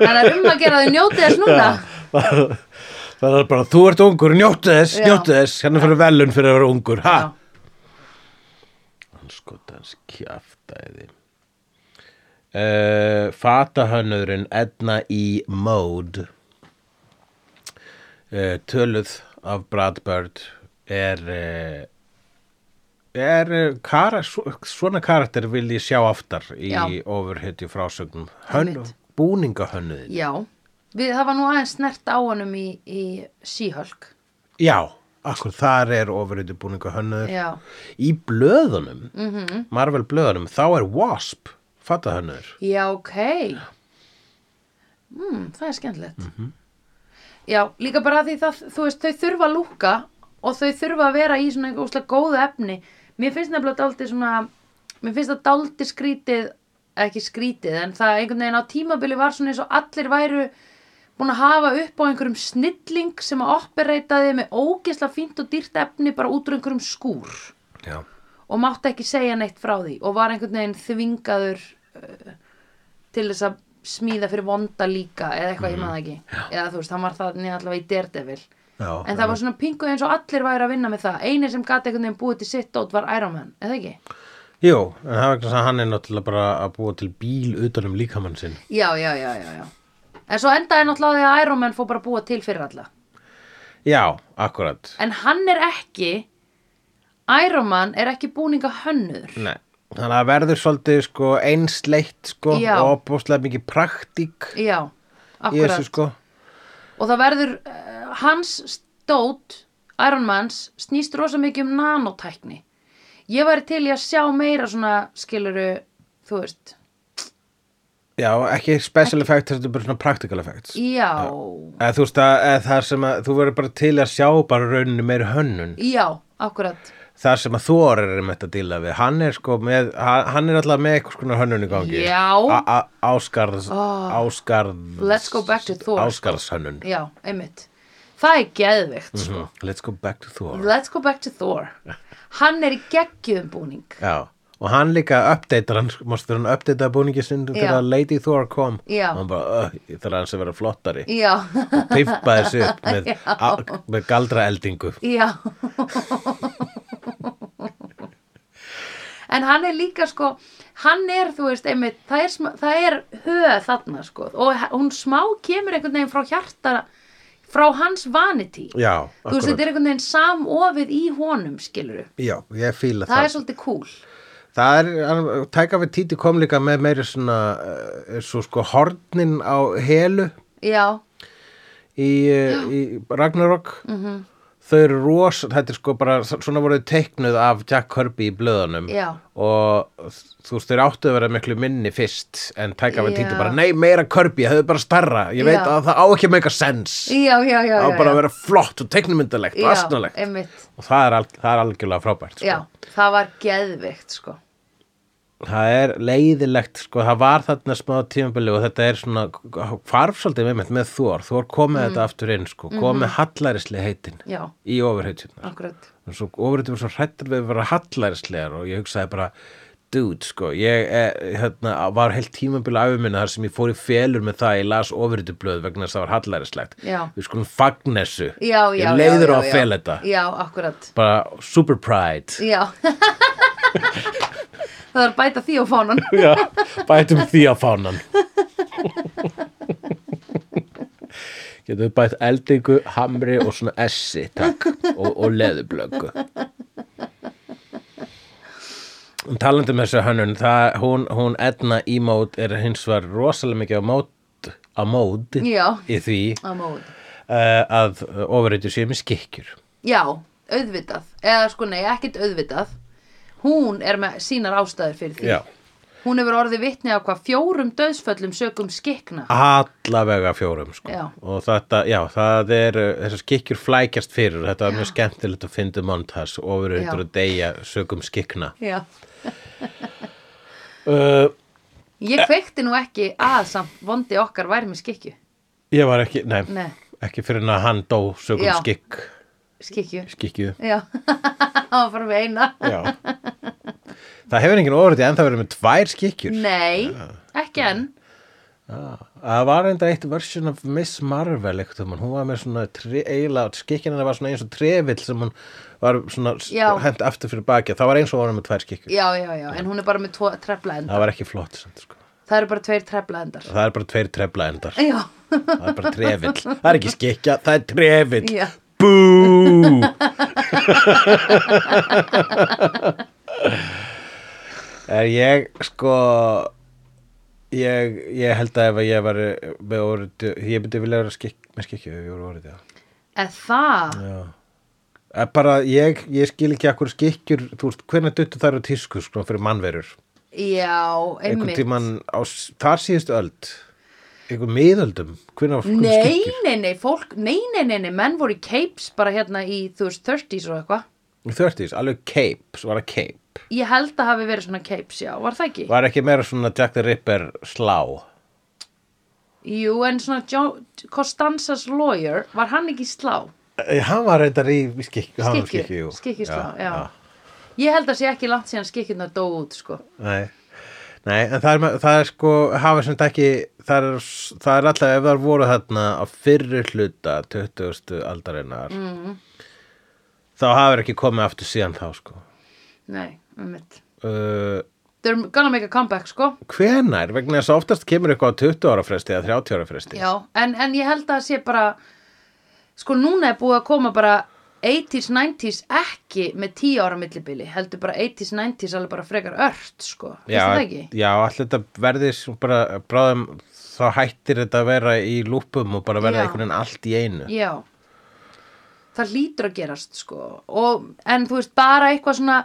Þannig að um að gera þau njótið þess núna.
það er bara, þú ert ungur, njóttu þess,
Já.
njóttu þess, hérna fyrir verðlun fyrir að vera ungur, ha?
Já.
Hann skota hans kjaftæði. Uh, fatahönnurinn Edna E. Mode uh, töluð af Brad Bird er uh, er eh, kara, svo- svona karakter vil ég sjá aftar í
Já.
overhitju frásögnum Hönn,
Einmitt.
búningahönnuðin
Já. Við, það var nú aðeins snert á honum í, í síhölk.
já, akkur þar er overhitju búningahönnuður
Já. Mhm.
í blöðunum mm -hmm. Marvel blöðunum, þá er Wasp fatahönnuður
Já, ok. Mm, það er skemmtilegt. Já, líka bara því það, þú veist, þau þurfa að lúka og þau þurfa að vera í svona úslega góðu efni. Mér finnst nefnilega dálítið svona, mér finnst það dálítið skrítið, ekki skrítið, en það einhvern veginn á tímabili var svona eins og allir væru búin að hafa upp á einhverjum snilling sem að operataði með ógeðslega fínt og dýrt efni bara út úr einhverjum skúr
já
og mátti ekki segja neitt frá því og var einhvern veginn þvingaður uh, til þess að smíða fyrir vonda líka eða eitthvað ég maður ekki Já. eða þú veist, hann var það niður allavega í Daredevil
Mhm. Já,
en það var svona pingu eins og allir væri að vinna með það eini sem gati einhvern veginn búið til sitt dót var Iron Man, eða ekki?
Jú, en það er vegna þess að hann er náttúrulega bara að búa til bíl utan um líkamann sinn.
Já, já, já, já, já en svo endaði náttúrulega á því að Iron Man fór bara að búa til fyrir alla
Já, akkurat.
en hann er ekki Iron Man er ekki búninga hönnur
Nei. Þannig að það verður svolítið sko einsleitt sko
Já.
og opbúslega mikið praktík
Já,
í
akkurat
þessu sko.
og það verður uh, hans stót Iron Mans snýst rosa mikið um nanotækni ég væri til í að sjá meira svona skiluru, þú veist
já, ekki special effects þetta er bara svona practical effects
Já,
eða þú veist að eða það sem að þú verður bara til að sjá bara rauninu meiri hönnun
já, akkurat
það sem að Þor er einmitt að díla við hann er sko með, hann hann er alltaf með eitthvað skonar hönnun í gangi
Já.
A- a- Áskarðs
Oh.
Áskarðs
Let's go back to Thor, sko.
Áskarðs hönnun
Já, einmitt Það er geðveikt
Mhm.
sko.
Let's go back to Thor
Let's go back to Thor Hann er í geggjum búning
Já, og hann líka uppdeitar hann, sko, mástu hann uppdeita búningi sinn
Já.
þegar Lady Thor kom
Já.
og hann bara, "Ugh, ég þarf hans að vera flottari
Já,
pimpa þessu upp með, a, með galdra eldingu
já En hann er líka sko Hann er, þú veist, einmitt Það er, sm- það er höð þarna sko Og h- hún smá kemur einhvern veginn frá hjarta Frá hans vanity
Já,
Þú veist, þetta er einhvern veginn samofið í honum, skilur
Já, ég fíla
Það
það
er svolítið cool
Það er, hann- tæka við títi kom líka með meiri svona eh, svo sko hornin á helu
Já,
í, eh, í Ragnarok
Mhm.
-hmm. þau eru ros þetta er sko bara, svona voru þau teiknuð af Jack Kirby í blöðunum
Já.
og þú veist, þeir áttu að vera miklu minni fyrst en tæka við
Já.
títi bara, nei, meira Kirby, það er bara starra ég veit
Já.
að það á ekki meika sens
já, já,
það
já
á
já,
bara
já.
að vera sko. flott og teiknumyndalegt og
Já,
astnalegt
einmitt,
og það er, al, það er algjörlega frábært sko.
já, það var geðvikt sko.
það er leiðilegt sko, það var þarna smá tímabili og þetta er svona hvarf svolítið með, með Þór Þór kom
Mm.
með þetta aftur inn sko,
Mhm.
kom með hallarisli heitin
Já,
í ofurheitjuna
akkurat
svo ofurheitjum var svo hrættur við að vera hallarislegar og ég hugsaði bara dude sko, ég eh, hérna, var heilt tímabili afumina þar sem ég fór í felur með það, ég las ofurheitjublöð vegna þess að það var hallarislegt
Já.
við skulum fagna þessu
Já, já,
ég leiður
já,
á
já,
að fela
já.
þetta
Já, akkurat
bara super pride
Já Það var að bæta því á fánan
Já, bætum því á fánan Getum við bætt eldingu, hamri og svona essi, takk og, og leðublöggu um talandi um þessu hönnun það, hún, hún Edna í mót er hins var rosalega mikið á mót á mót
Já.
í því
á móti
uh, að ofurreitur séu með skikkjur
Já, auðvitað Eða sko, nei, ekkert auðvitað Hún er með sínar ástæður fyrir því
Já.
Hún hefur orðið vitni á hvað fjórum döðsföllum sögum skikna
Ah. allavega fjórum sko.
Já.
og þetta, já, það er uh, þessar skikkjur flækjast fyrir og þetta var mjög skemmtilegt að finna montas ofur
Já.
ykkur að deyja sögum skikna
Já
uh,
Ég kveikti nú ekki að samt vondi okkar væri með skikju
ég var ekki, nei,
Nei.
ekki fyrir en að hann dó sögum
Já.
skikk
Skikju
skikju
Já, það var bara með eina
já. það hefur enginn ofur en það verið með tvær skikkjur
Nei, ekki enn
það var enda eitt version of Miss Marvel ekkert um hún var með svona tre, eiginlega skikkin hennar var svona eins og trefill sem hún var svona
Já.
hent aftur fyrir baki það var eins og voru með tvær skikkjur
Já, já, já, en hún er bara með tvo trefla enda
það var ekki flott samt, sko.
Það eru bara tveir trefla endar
Það er bara tveir trefla endar.
Já,
Það er bara trefill. Það er ekki skikja, það er trefill.
Já.
Bú! er ég, sko, ég, ég held að ef að ég var með orðið, ég myndi vilja vera skik, með skikju ef ég voru orðið, já.
eða það
já. Er bara, ég, ég skil ekki akkur skikkjur, þú veist, hvernig duttu þær á tísku, sko, fyrir mannverur?
Já,
einhvern
einmitt
tímann á s- þar síðustu öld einhvern miðöldum hvernig var fólk með
Nei,
skikkjur?
nei, nei, fólk, nei, nei, nei, nei Menn voru í capes bara hérna í, þú veist, 30s og eitthvað
30s, alveg cape, svo var það cape
Ég held að hafi verið svona capes, já, var það ekki?
var ekki meira svona Jack the Ripper slá
Jú, en svona John, Costanzas lawyer, var hann ekki í slá?
Eh, hann var reyndar í í skikkju hann var í
Skikkju,
skikkju, jú.
skikkjuslá, já, Ég held að sé ekki langt síðan skikkjurnar dóu út, sko
Nei. Nei, en það er, með- það er sko hafa sem þetta ekki það er, s- það er alltaf ef það voru þarna á fyrri hluta 20. aldarinnar mm. þá hafa ekki komið aftur síðan þá sko
Nei, einmitt
uh,
They're gonna make a comeback, sko
hvenær, vegna þess að oftast kemur eitthvað á 20 ára fresti eða 30 ára fresti
Já, en, en ég held að það sé bara sko núna er búið að koma bara 80s, 90s ekki með 10 ára millibili, heldur bara 80s, 90s alveg bara frekar ört, sko Finnst þér það ekki?
já allir þetta verði svo bara bráðum, þá hættir þetta að vera í lúpum og bara verða
Já.
einhvern veginn allt í einu
Já Það hlýtur að gerast, sko og, en þú veist, bara eitthvað svona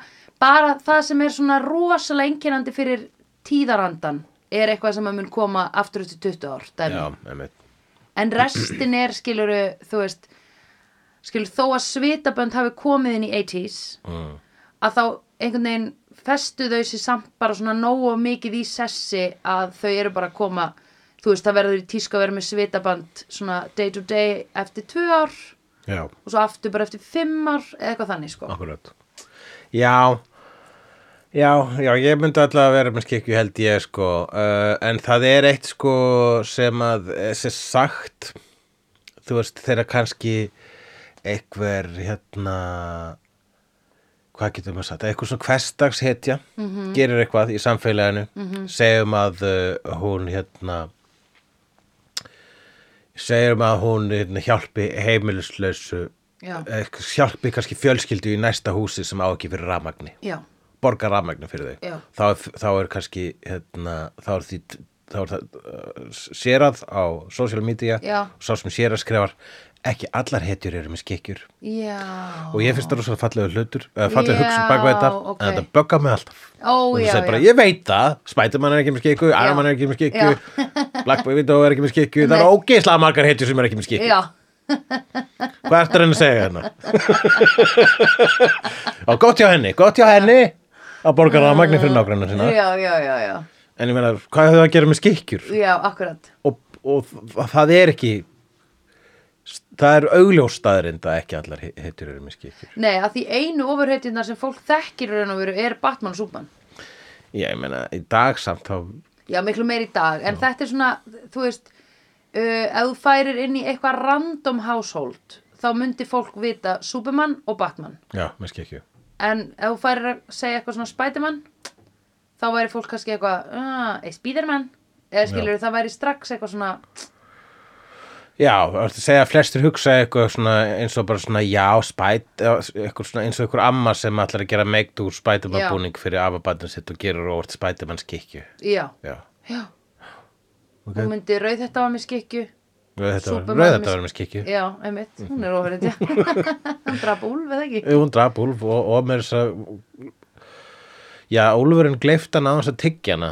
bara það sem er svona rosalega einkennandi fyrir tíðarandan er eitthvað sem að mun koma aftur eftir 20 ár dæmi.
já, einmitt
en restin er skiluru þú veist skilur þó að svitabönd hafi komið inn í 80s
Mm.
að þá einhvern veginn festu þau sér samt bara svona nógu mikið í sessi að þau eru bara að koma þú veist það verður í tísku að vera með svitabönd svona day to day eftir 2 ár og
já,
svo aftur bara eftir 5 ár eða eitthvað þannig sko
akkurat já Já, já, ég myndi alltaf að vera með skikju held ég sko, uh, en það er eitt sko sem að eh, sem sagt, þú veist, þeirra kannski einhver hérna hvað getum við sagt, eitthvað svona hversdagshetja
Mhm.
gerir eitthvað í samfélaginu segjum að uh, hún hérna segjum að hún hérna, hjálpi heimilislausu
Já.
eh, hjálpi kannski fjölskyldu í næsta húsi sem á ekki fyrir rafmagni
já,
borga rafmagnu fyrir þau
Já.
þá, er- þá er kannski hérna, þá er því þá er það uh, sérað á social media
Já.
sá sem sérað skrifar ekki allar hetjur eru með skikjur
já
og ég finnst það rosalega fallega hlutur uh, fallega
Já,
hugsun bakvað þetta
ok.
en þetta bögga mig alltaf
Ó,
og þú
já,
segir bara,
já.
ég veit það, Spiderman er ekki með skikju Ironman er ekki með skikju, Black Widow er ekki með skikju það
Nei.
eru ógeðslega margar hetjur sem er ekki með skikju
já,
hvað ertu að reyna að segja hérna og gott hjá henni, gott hjá henni að borga rafmagni fyrir nágrannar sína
já, já, já, já,
en ég meina, hvað hefur það að gera með skikkjur
já, akkurat
og, og þ- það er ekki það er augljóstaðrind að ekki allar he- hetjur eru með skikkjur
Nei, að því einu ofurheitirnar sem fólk þekkir í raun og veru er Batman og Superman.
ég meina, í dag samt þá
Já, miklu meir í dag, en þetta er svona, þú veist, uh, ef þú færir inn í eitthvað random household, þá myndi fólk vita Superman og Batman.
já, með skikkju
En ef þú færir að segja eitthvað svona Spiderman, þá væri fólk kannski eitthvað, uh, eh, Spiderman, eða skilur það væri strax eitthvað svona,
já, ertu að segja að flestir hugsa eitthvað svona, eins og bara svona já, spæt eitthvað svona, eins og einhver amma sem allar að gera meikt úr
Já.
spætumann búning fyrir afabatnum sitt og gerur óvart spætumann skikkju
já,
já,
já,
ok
hún myndi rauð þetta var með skikju,
Rauð þetta var,
Superman
rauð
með-
þetta var með skikju
já, einmitt, hún er ofurheitja, hann draf úlf eða ekki.
Hún draf Úlf og, og með þess að Já, Úlfurinn gleift hann á þess að tyggja hana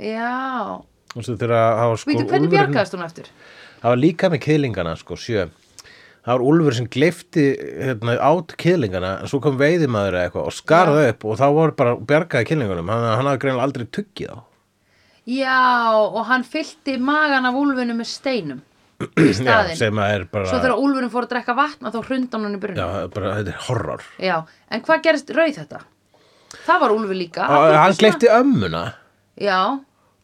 Já,
og svo þegar að hafa sko
býtu, hvernig
Úlfurinn-
bjargaðist hún aftur?
Það var líka með kýðlingana sko, sjö Það var Úlfur sem gleifti hérna, át kýðlingana en svo kom veiðimaður eða eitthvað og skarði upp og þá var bara bjargaði kýðlingunum hann, hann hafði greinlega aldrei tuggið á
Já, og hann fyllti magan af úlfinu með steinum í staðinn.
sem að er bara,
Svo þegar úlfinu fór að drekka vatn að þá hrunda hann hann í
já,
brunni.
bara þetta er horror
Já. en hvað gerist rauð þetta? Það var úlfi líka.
og,
Akkur
Hann
svona-
gleifti ömmuna
Já,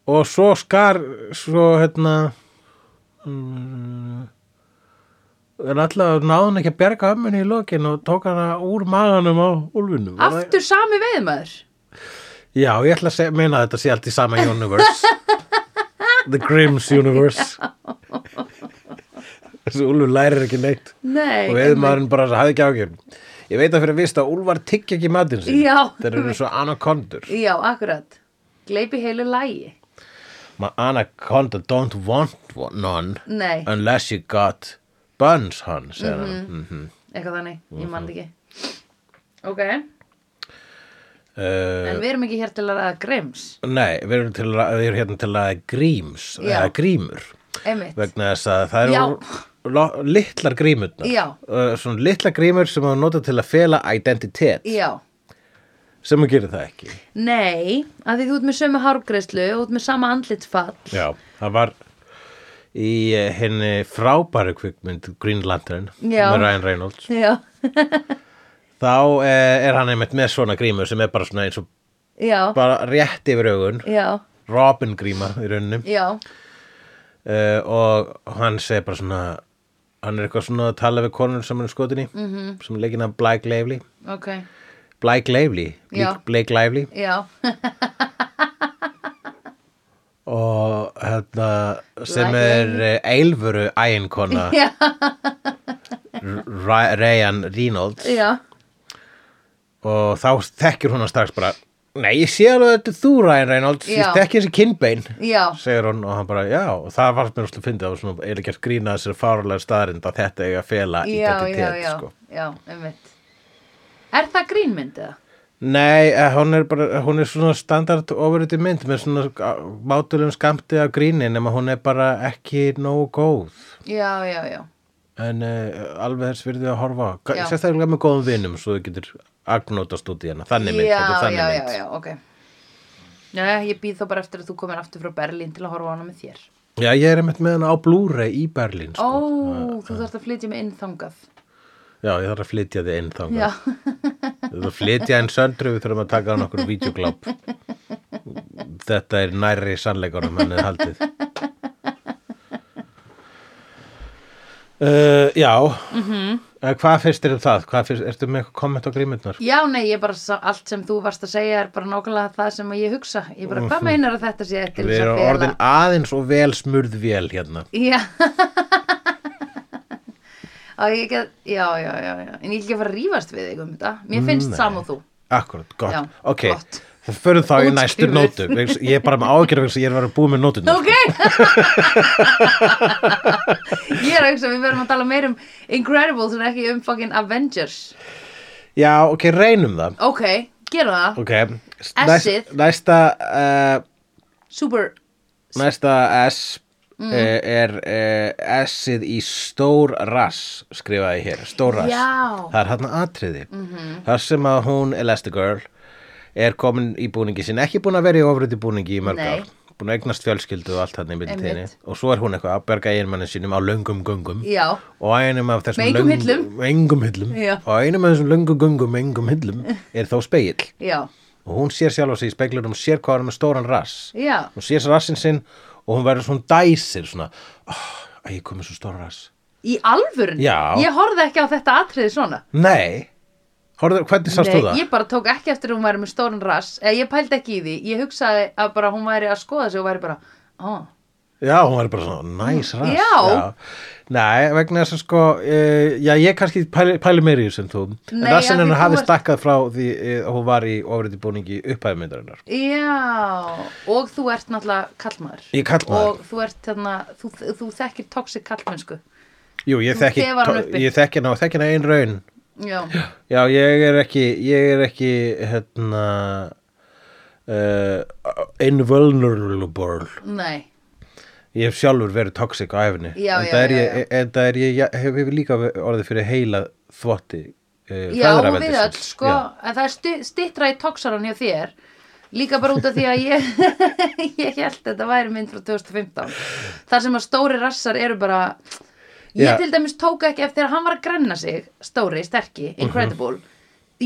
og svo skar svo hérna mm, en allavega náði hann ekki að bjarga ömmunni í lokin og tók hana úr maganum á úlfinum
aftur sami veiðmaður.
já, ég ætla að segja, meina að þetta sé allt í sama universe the Grimms universe þessi úlfur lærir ekki neitt
Nei.
og veðmaðurinn bara hafði ekki ákjörn ég veit að fyrir að vista að úlfar tyggja ekki matinn sinn
Já.
þeir eru svo anacondur
einmitt. Já, akkurat. Gleipi heilu lægi.
my anaconda don't want one- none
Nei,
unless you got buns hann, segir hann
Mhm.
mm
eitthvað þannig, ég mann ekki. Ok,
uh,
en við erum ekki hér til að ræða grims.
nei, við erum, til, að- við erum hérna til að gríms,
Já.
eða grímur
Einmitt.
vegna þess að það
Já.
eru lo- litlar grímurnar
Já.
uh, svona litlar grímur sem að nota til að fela identitet
Já.
sem að gera það ekki
Nei, að því þú ert með sömu hárgreislu og þú ert með sama andlitfall
Já, það var í eh, henni frábæru kvikmynd Green Lantern
Já.
með Ryan Reynolds
Já,
þá eh, er hann einmitt með svona grímur sem er bara svona eins og
já,
bara rétt yfir augun
já,
Robin gríma í rauninni
já,
uh, og hann segir bara svona hann er eitthvað svona að tala við konur sem hann er skotin í
Mhm.
-hmm. sem er leikinn af Blake Lively
ok,
Blake Lively,
Já.
Blake, Blake Lively
já,
og hérna sem
Blake
er eh, eilvöru æginkona
já,
Ra- Ryan Reynolds
já,
og þá þekkir hún hann strax bara nei ég sé alveg að þetta er þú Ryan Reynolds
Já.
ég þekki þessi kinnbein
já,
segir hún og hann bara já og það varst mér úrslega fyndið að það var svona eiginlega gert grína þessir fárlega staðarind að þetta eiga að fela
já,
identitet
já, já,
sko.
já, einmitt. Er það grínmynd eða?
Nei, eh, hún er, bara, hún er svona standard ofuriti mynd með svona mátulegum skamti af gríni nema hún er bara ekki nógu góð
já, já, já
en uh, alveg þess virði að horfa á.
Já.
sérstaklega með góðum vinum svo þú getur agnótast út í hana þannig mynd,
já,
þetta er þannig
já,
mynd
já, já, ok Já, ég býð þá bara eftir að þú komin aftur frá Berlín til að horfa á hana með þér
Já, ég er einmitt með hana á Blu-ray í Berlín
Ó,
sko.
þú þarft að flytja mig inn þangað
Já, ég þarf að flytja þig inn þangað
Já,
Þú þarf að flytja einn söndru, við þurfum að taka hann okkur vídeogláp. Þetta er nærri sannleikunum hann er haldið. Uh, já, mm
Mhm.
hvað finnst þér um það? Hvað finnst, ertu með eitthvað komment á grímurnar?
já, nei, ég bara sá, allt sem þú varst að segja er bara nákvæmlega það sem ég hugsa Ég bara, hvað meinar að þetta sé til
Við
þess að
erum
fela-
orðin aðeins og vel smurð vél hérna.
Já Á, ég get, já, já, já, já En ég vil ekki að fara að rífast við þig um þetta Mér finnst sama og þú
Akkurat, gott.
Já,
ok,
gott.
það förum þá í næstu
Útskýrðu.
nótu. Vegna- Ég er bara með ágjörð vegna þess að ég er að vera búið með nótuna.
Ok Ég er að hugsa, að við verðum að tala meir um Incredibles en ekki um fucking Avengers
Já, ok, reynum það.
Ok, gera það
Ok,
S-ið.
næsta... Uh,
Super
Næsta S
Mm.
eh, er uh, S-ið í stór rass skrifaði hér, stór rass
Já. Mhm.
það er hann atriði -hmm. þar sem að hún Elastigirl er komin í búningi sín, ekki búin að vera í ofriti búningi í mörg
Nei.
ár búin að eignast fjölskyldu og allt hann í myndinni
Einmitt.
og svo er hún eitthvað að berga einmannin sínum á löngum göngum
Já,
og á einum af þessum
Með engum hillum.
engum hillum
Já.
og á einum af þessum löngum göngum með engum hillum er þá speill
já,
og hún sér sjálf á sig í speglunum sér hvað hann með stóran rass
já
hún sér rassinn sinn og hún verður svona dæsir svona, oh, að ég komið svo stóra rass
Í alvörun
Já.
Ég horfði ekki á þetta atriði svona
nei, Horfðu, hvernig sást þú
Nei,
það?
ég bara tók ekki eftir að hún væri með stóran rass eða ég pældi ekki í því, ég hugsaði að bara hún væri að skoða sig og væri bara "Ah." ó,
já, hún verður bara svona, næs rass
Já.
nei, vegna þess að sko uh, já, ég kannski pæli, pæli meiri í þessum þú en
Nei, af
rassinn
því
hennar
þú
hafi
ert-
stakkað frá því eh, að hún var í ofriði búningi upphæði myndarinnar
já og þú ert náttúrulega kallmaður
Ég er karlmaður.
og þú ert þarna, þú, þú þekkir toxic kallmennsku
jú, ég
Þú
þekki,
gefur hann
to-
uppi.
ég þekki hana og þekki hana ein raun
já,
Já, ég er ekki, ég er ekki, hérna, uh, invulnerable.
nei
Ég hef sjálfur verið toxic á æfni.
Já,
en
já,
það er
já,
ég, En það er ég, ég hef, hef líka orðið fyrir heila þvotti uh,
já og við öll sko, en það er stu, stittra í toxaran hjá þér líka bara út af því að ég ég held að þetta væri mynd frá 2015 þar sem að stóri rassar eru bara ég
Já.
til dæmis tók ekki eftir að hann var að grenna sig stóri, sterki,
Mhm.
incredible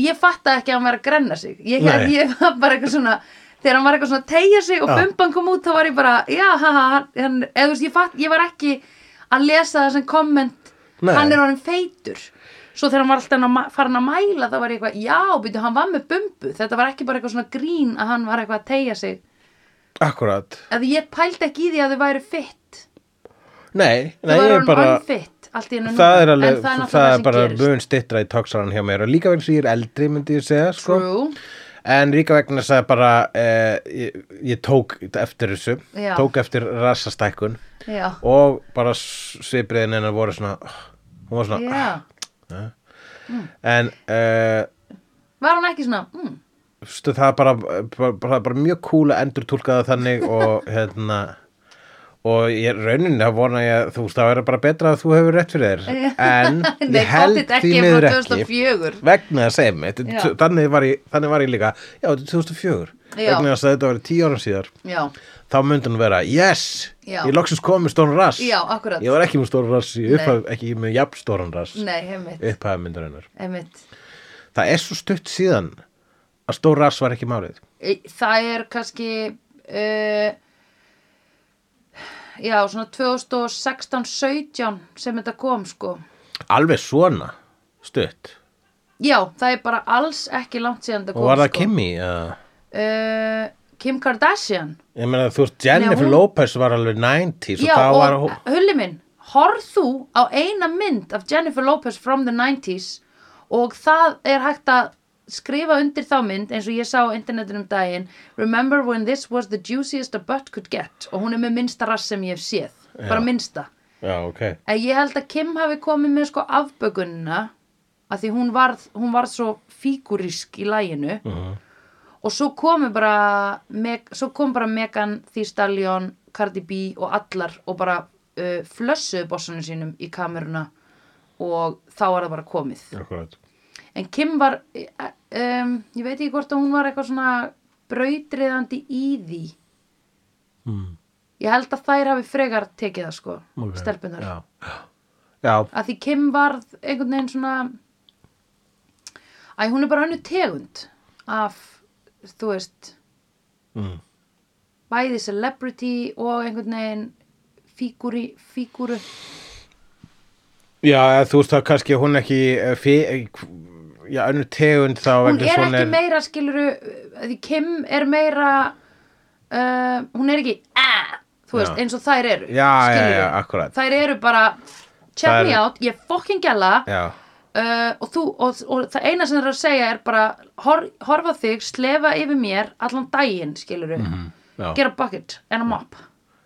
ég fattaði ekki að hann var að grenna sig ég,
Nei.
ég var bara eitthvað svona þegar hann var eitthvað svona að tegja sig og
Já.
bumban kom út þá var ég bara, já, ha, ha, ha hann, eða, þú veist, ég, fatt, ég var ekki að lesa þessan komment
Nei.
hann er orðin feitur svo þegar hann var alltaf að ma- farin að mæla þá var ég eitthvað, já, byrju, hann var með bumbu þetta var ekki bara eitthvað svona grín að hann var eitthvað að tegja sig
Akkurat.
að ég pældi ekki í því að þau væri fitt
Nei, nei,
það
ég
var
er
hann
bara...
unfit allt í hennu
Það er alveg,
það er náttúrulega
það er
sem
bara
gerist.
mun stittra í toxaran hjá mér og líka vegna sem ég er eldri myndi ég segja sko.
true,
En líka vegna þess að bara eh, ég, ég tók eftir þessu,
Já.
tók eftir rassastækkun
já,
og bara svipriðin hennar voru svona, hún var svona,
já
en uh,
var hann ekki svona mm,
stu, það er bara, bara, bara, bara mjög cool að endur túlka það þannig og hérna, og ég raunin það vona ég að þú veist það verður bara betra að þú hefur rétt fyrir þér, en
nei,
ég held
pottet
því
ekki
miður
frá
ekki.
2004
Vegna að segja mig, þetta er
Já.
t- þannig var, ég, þannig var ég líka, já, þetta er 2004,
Já.
vegna þess að þetta var tíu ára síðar.
já,
þá myndi hún vera, yes,
Já.
ég loksins kom með stóran rass
Já, akkúrat.
ég var ekki með stóran rass, í
Nei.
upphaf, ekki með jafn stóran rass
nei, heimitt,
upphæða myndarinnar
heimitt
það er svo stutt síðan að stór rass var ekki málið
það er kannski uh, já, svona 2016-17 sem þetta kom sko
alveg svona stutt
já, það er bara alls ekki langt síðan þetta
og
kom
var það
sko.
Kimi uh,
Eh, Kim Kardashian
ég meina þú veist Jennifer
Nei, hún-
Lopez var alveg 90
Já,
og þá var
og
hún
hulli minn, horf þú á eina mynd af Jennifer Lopez from the 90s og það er hægt að skrifa undir þá mynd eins og ég sá á internetunum daginn Remember when this was the juiciest a butt could get og hún er með minnsta rass sem ég hef séð bara minnsta
já, ok,
en ég held að Kim hafi komið með sko afbökunna að því hún varð, hún varð svo fígúrísk í læginu
Uh-huh.
og svo komu bara meg, svo kom bara Megan, Thee Stallion Cardi B og allar og bara uh, flössuðu bossunum sínum í kameruna og þá er það bara komið
akkurat
en Kim var eh, um, ég veit ekki hvort að hún var eitthvað svona brautriðandi í því
mm,
ég held að þær hafi frekar tekið það sko
ok.
stelpunar
já, já,
að því Kim varð einhvern veginn svona æ, hún er bara hannu tegund af, þú veist
mm,
bæði celebrity og einhvern veginn fígúri, fígúru
já eða þú veist það kannski hún ekki eh, fi, eh, k- já, önnur tegund þá
hún
vegna
er
þess
ekki meira skiluru að því Kim er meira uh, hún er ekki "Ah", þú veist,
Já.
eins og þær eru
Já, já,
skilurðu.
já, akkúrat.
þær eru bara, check
Þær-
me out ég fokkin gæla uh,
já,
Eh, og, þú, og, og það eina sem þær eru að segja er bara hor, horfa á þig, slefa yfir mér allan daginn, skiluru
Mhm. já,
gera bucket and a mop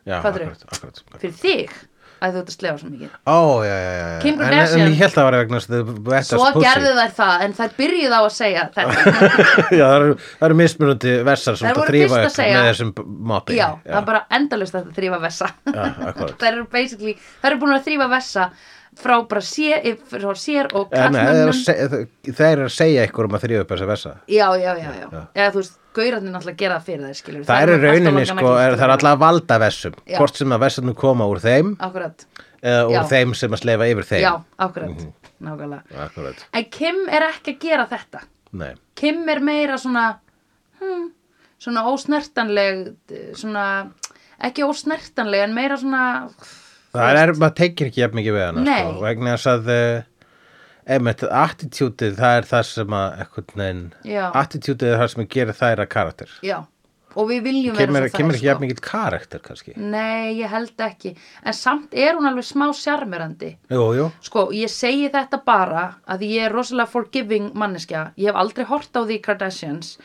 já,
hvað eru?
akkurat, akkurat, akkurat.
fyrir þig að þú ert að slefa svo mikið
Ó, já, já, já, já.
Kim
En-
Kardashian.
En ég held að það var vegna þess að þau vettast
svo
pussy.
gerðu þær það, en þær byrjuð á að segja þetta
Já, það eru, það eru mismunandi versar sem
Þær
þú
voru
þrýfa
fyrst að
upp
segja-
með þessum móti
Já, það er bara endalust að þetta þrýfa vessa
akkúrat.
Þær eru basically, þær eru búin að þrýfa vessa frá bara sér, frá sér og
En Eh, nei,
kallmönnum Já,
þeir eru er að segja ykkur um að þrýfa upp þessa versa
já, já, já, Eða þú veist, gaurarnir náttúrulega gera það fyrir þær skilur
Það eru rauninni sko, er, það er alltaf valda versum
Já.
Hvort sem að versarnum koma úr þeim
Akkurat,
eða úr
Já.
þeim sem að sleifa yfir þeim Mhm.
já, akkurat, nákvæmlega
Akkurat,
En Kim er ekki að gera þetta
nei
Kim er meira svona hmm, svona ósnertanleg eh, svona, ekki ósnertanleg en meira svona
Það er, maður tekir ekki jafn mikið við hana
Nei.
sko, vegna þess að eh, einmitt, attitútið, það er það sem að eitthvað neinn,
Já.
attitútið er það sem gerir þær að karakter
Já, og við viljum
Kemur,
vera svo
kemur
þær,
ekki
sko.
jafn mikið karakter kannski
Nei, ég held ekki. En samt er hún alveg smá sjarmerandi.
Jú, jú
Sko, ég segi þetta bara að ég er rosalega forgiving manneskja. Ég hef aldrei hort á því Kardashians,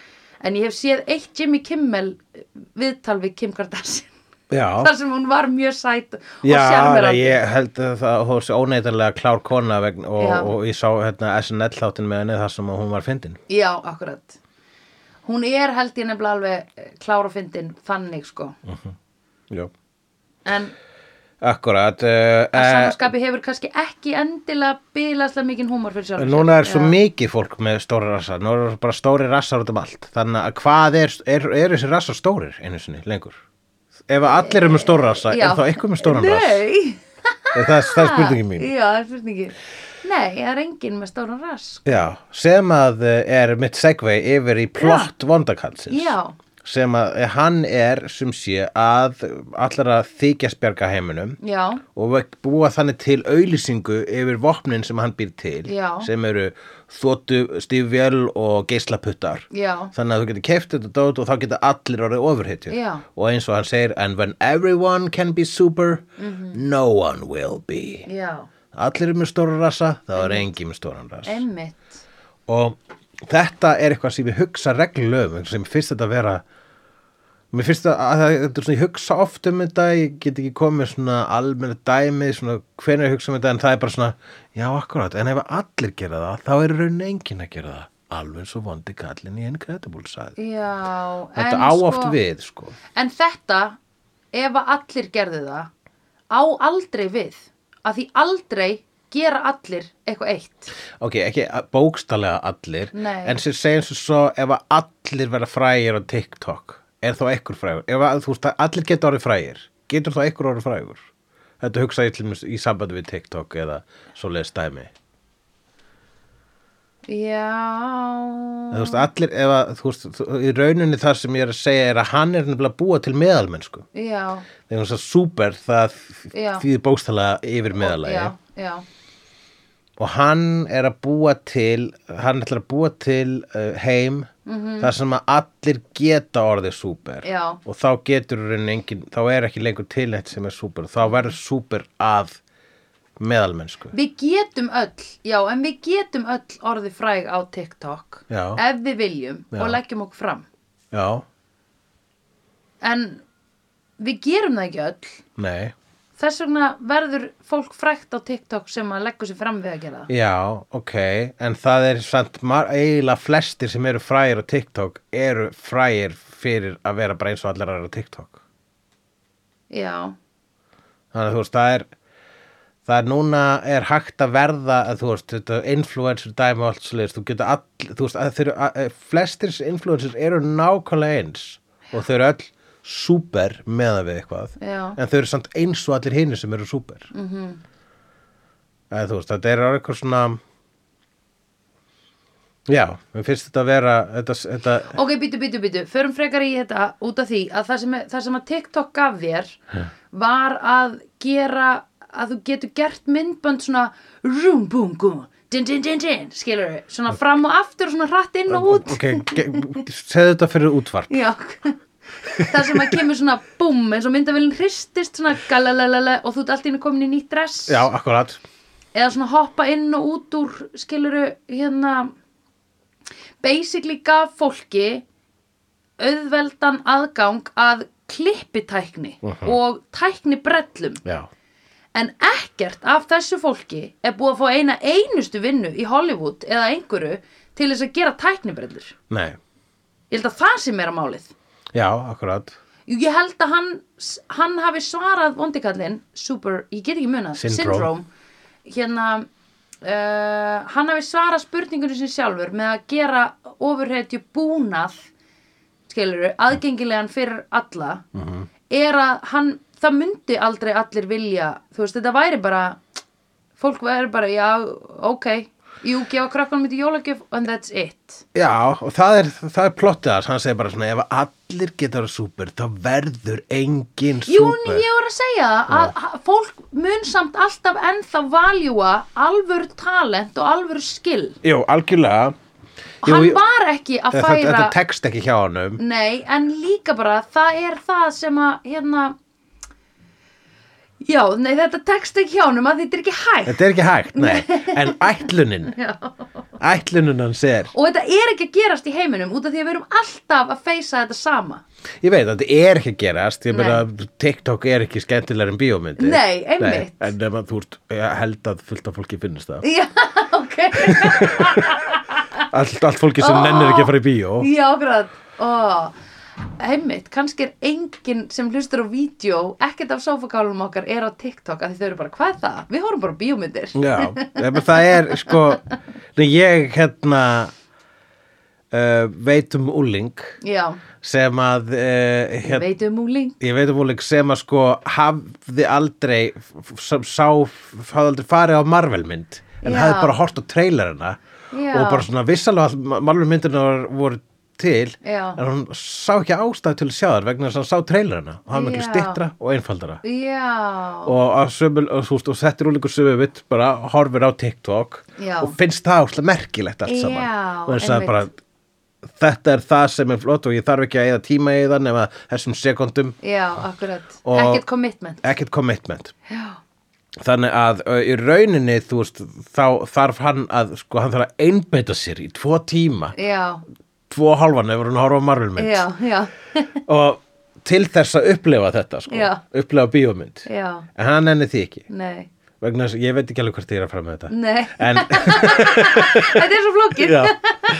en ég hef séð eitt Jimmy Kimmel eh, viðtal við Kim Kardashian.
Já,
Þar sem hún var mjög sæt og
já nei,
sjarmerandi.
ég held að það hún sé óneitanlega klár kona vegna, og,
Já.
og ég sá hérna, SNL þáttin með henni þar sem að hún var fyndin
Já, akkurat. Hún er held ég nefnilega alveg eh, klár og fyndin þannig, sko.
Jú
En
Akkurat uh,
að
eh,
samanskapi hefur kannski ekki endilega bilaslega mikinn húmor fyrir sjálf.
Núna er svo mikið fólk með stóri rassar Núna er bara stóri rassar út um allt Þannig að hvað er, er, er þessi rassar stórir einu sinni, lengur Ef að allir eru með stóra rassa, er þá eitthvað með stóran rass?
Nei!
Er Það, það er spurningin mín
Já, það er spurningi. Nei, það er enginn með stóran rass.
Já, sem að eh, er mitt segvei yfir í plott vondakalsins
Já.
sem að eh, hann er sem sé að allra þykjast bjarga heiminum
Já,
og vek- búa þannig til auðlýsingu yfir vopnin sem hann býr til
Já.
sem eru þóttu, stífvél og geislaputtar
Já.
þannig að þú getur keft þetta dót og þá geta allir orðið ofurhetjur
Já.
og eins og hann segir and when everyone can be super no one will be
Mhm. já,
allir eru með stóra rassa, þá er engin með stóran rass
emmitt.
og þetta er eitthvað sem ég hugsa reglum sem fyrst þetta vera mér finnst að, að það- þetta er svona ég hugsa oft um þetta, ég get ekki komið með svona almenna dæmi, svona hvenær ég hugsa um þetta en það er bara svona, já akkurat en ef allir gera það, þá er í raunin enginn að gera það, alveg svo vondi kallin í Incredible sagði,
Já,
þetta á oft við sko,
En þetta, ef að allir gerðu það, á aldrei við. Að því aldrei gera allir eitthvað eitt.
ok, ekki að- bókstallega allir,
Nei.
en sem segjum svo, svo ef að allir verða frægir á TikTok, er þá ekkur frægur ef að, þú veist að allir geta orðið frægir getur þá ekkur orðið frægur þetta hugsa ég til mér í sambandi við TikTok eða svoleiðis dæmi
Já,
En Þú veist, allir, ef að, þú veist, þú- í rauninni það sem ég er að segja er að hann er nefnilega að búa til meðalmennsku.
já,
Þegar þú veist að súper, það
Já.
þýðir bókstælega yfir meðalagi.
já, já,
Og hann er að búa til, hann ætlar að búa til uh, heim þar sem að allir geta orðið súper.
Já.
Og þá getur í rauninni engin, þá er ekki lengur til neitt sem er súper. Þá verður súper að meðalmennsku.
Við getum öll, já, en við getum öll orðið fræg á TikTok
Já.
ef við viljum
Já.
og leggjum okkur fram.
Já,
En við gerum það ekki öll
nei,
þess vegna verður fólk frækt á TikTok sem að leggur sér fram við að gera það
Já, ok, en það er samt mar- eiginlega flestir sem eru frægir á TikTok eru frægir fyrir að vera bara eins og allar aðrar á TikTok.
já,
Þannig að þú veist, það er, það er núna er hægt að verða, að, þú veist, þetta influencer dæmi og allt svolítið, þú getur all, þú veist, að þeir eru, að- að flestir influencers eru nákvæmlega eins og þau eru öll súper meðan við eitthvað,
Já. Mhm.
en þau eru samt eins og allir hinir sem eru súper. Mm -hmm. Eða þú veist, þetta er orðið eitthvað svona, já, mér finnst þetta að vera, þetta, þetta,
ok, býtu, býtu, býtu förum frekar í þetta út af því að það sem, það sem að TikTok gaf þér var að gera að þú getur gert myndbönd svona rúm, búm, gúm din, din, din, din, skilur við svona fram og aftur og svona hratt inn og út
ok, ge- segðu þetta fyrir útvarp.
Já Það sem að kemur svona búm eins og myndavillin hristist svona galalala og þú ert allt í einu komin í nýtt dress
Já, akkurat.
eða svona hoppa inn og út úr skiluru hérna basically gaf fólki auðveldan aðgang að klippitækni og tæknibrellum
Já.
en ekkert af þessu fólki er búið að fá eina einustu vinnu í Hollywood eða einhverju til þess að gera tæknibrellur
Nei.
ég held að það sem er að málið
Já, akkurat.
Jú, Ég held að hann, hann hafi svarað vondikallin, super, ég get ekki munað,
Syndrome.
hérna, uh, hann hafi svarað spurningunni sem sjálfur með að gera ofurhetju búnað, skilur aðgengilegan fyrir alla, -hmm. er að hann, það myndi aldrei allir vilja, þú veist, þetta væri bara, fólk væri bara, já, ok, jú, gefa krakkanum þetta í jólagjöf and that's it.
Já, og það er, það er plottið þess, hann segir bara svona, ef allir getur að súper, þá verður engin
Jú, en
súper.
ég var að segja það að að fólk mun samt alltaf ennþá valjúa alvöru talent og alvöru skill.
Jú, algjörlega. Jú,
Hann
jú,
var ekki að
þetta,
færa,
þetta tekst ekki hjá honum.
nei, en líka bara það er það sem að, hérna, já, nei, þetta tekst ekki hjá honum að þetta er ekki hægt.
Þetta er ekki hægt, nei. en ætlunin,
Já.
ætlunin hans er,
Og þetta er ekki að gerast í heiminum út af því að við erum alltaf að feysa þetta sama.
ég veit að þetta er ekki að gerast, ég
Nei.
meina að TikTok er ekki skemmtilegar en bíómyndir.
Nei, einmitt.
en ef að þú ert, ég held að fullt af fólki finnst það.
Já, ok,
Allt, allt fólki sem nennir ekki að fara í bíó.
já, græð, ó. Einmitt, kannski er enginn sem hlustur á vídeo, ekkert af sofakálum okkar er á TikTok að því þau eru bara, hvað er það? Við horfum bara á bíómyndir.
Já, ef það er sko nei, ég hérna uh, veit um úling
Já,
sem að uh, hérna,
veitum múling.
ég veit um úling sem að sko hafði aldrei f- f- sem sá, hafði aldrei farið á Marvelmynd en
Já.
hafði bara hort á trailerina
Já.
og bara svona vissalega að Marvelmyndina voru til
Já.
en hún sá ekki ástæð til að sjá þar vegna þess að hann sá trailerina og hann miklu
Já.
stittra og einfaldara
Já,
og, að sömul, og, þú veist, og settir úr líkur sömu mitt bara horfir á TikTok
Já.
og finnst það áslega merkilegt allt
Já,
saman og þess að
einmitt.
bara þetta er það sem er flott og ég þarf ekki að eða tíma í það nema þessum sekundum
já, akkurat.
Og-
Ekkert commitment.
ekkert commitment
Já,
þannig að ö, í rauninni þú veist, þá þarf hann að sko, hann þarf að einbeita sér í tvo tíma
já,
tvo hálfan ef hann horfa á marvelmynd
já, já,
og til þess að upplefa þetta sko,
Já.
upplefa bíómynd
já,
en hann enni því ekki
nei,
vegna þess að ég veit ekki alveg hvort ég er að fara með þetta
nei.
en
Þetta er svo flókið.
Já.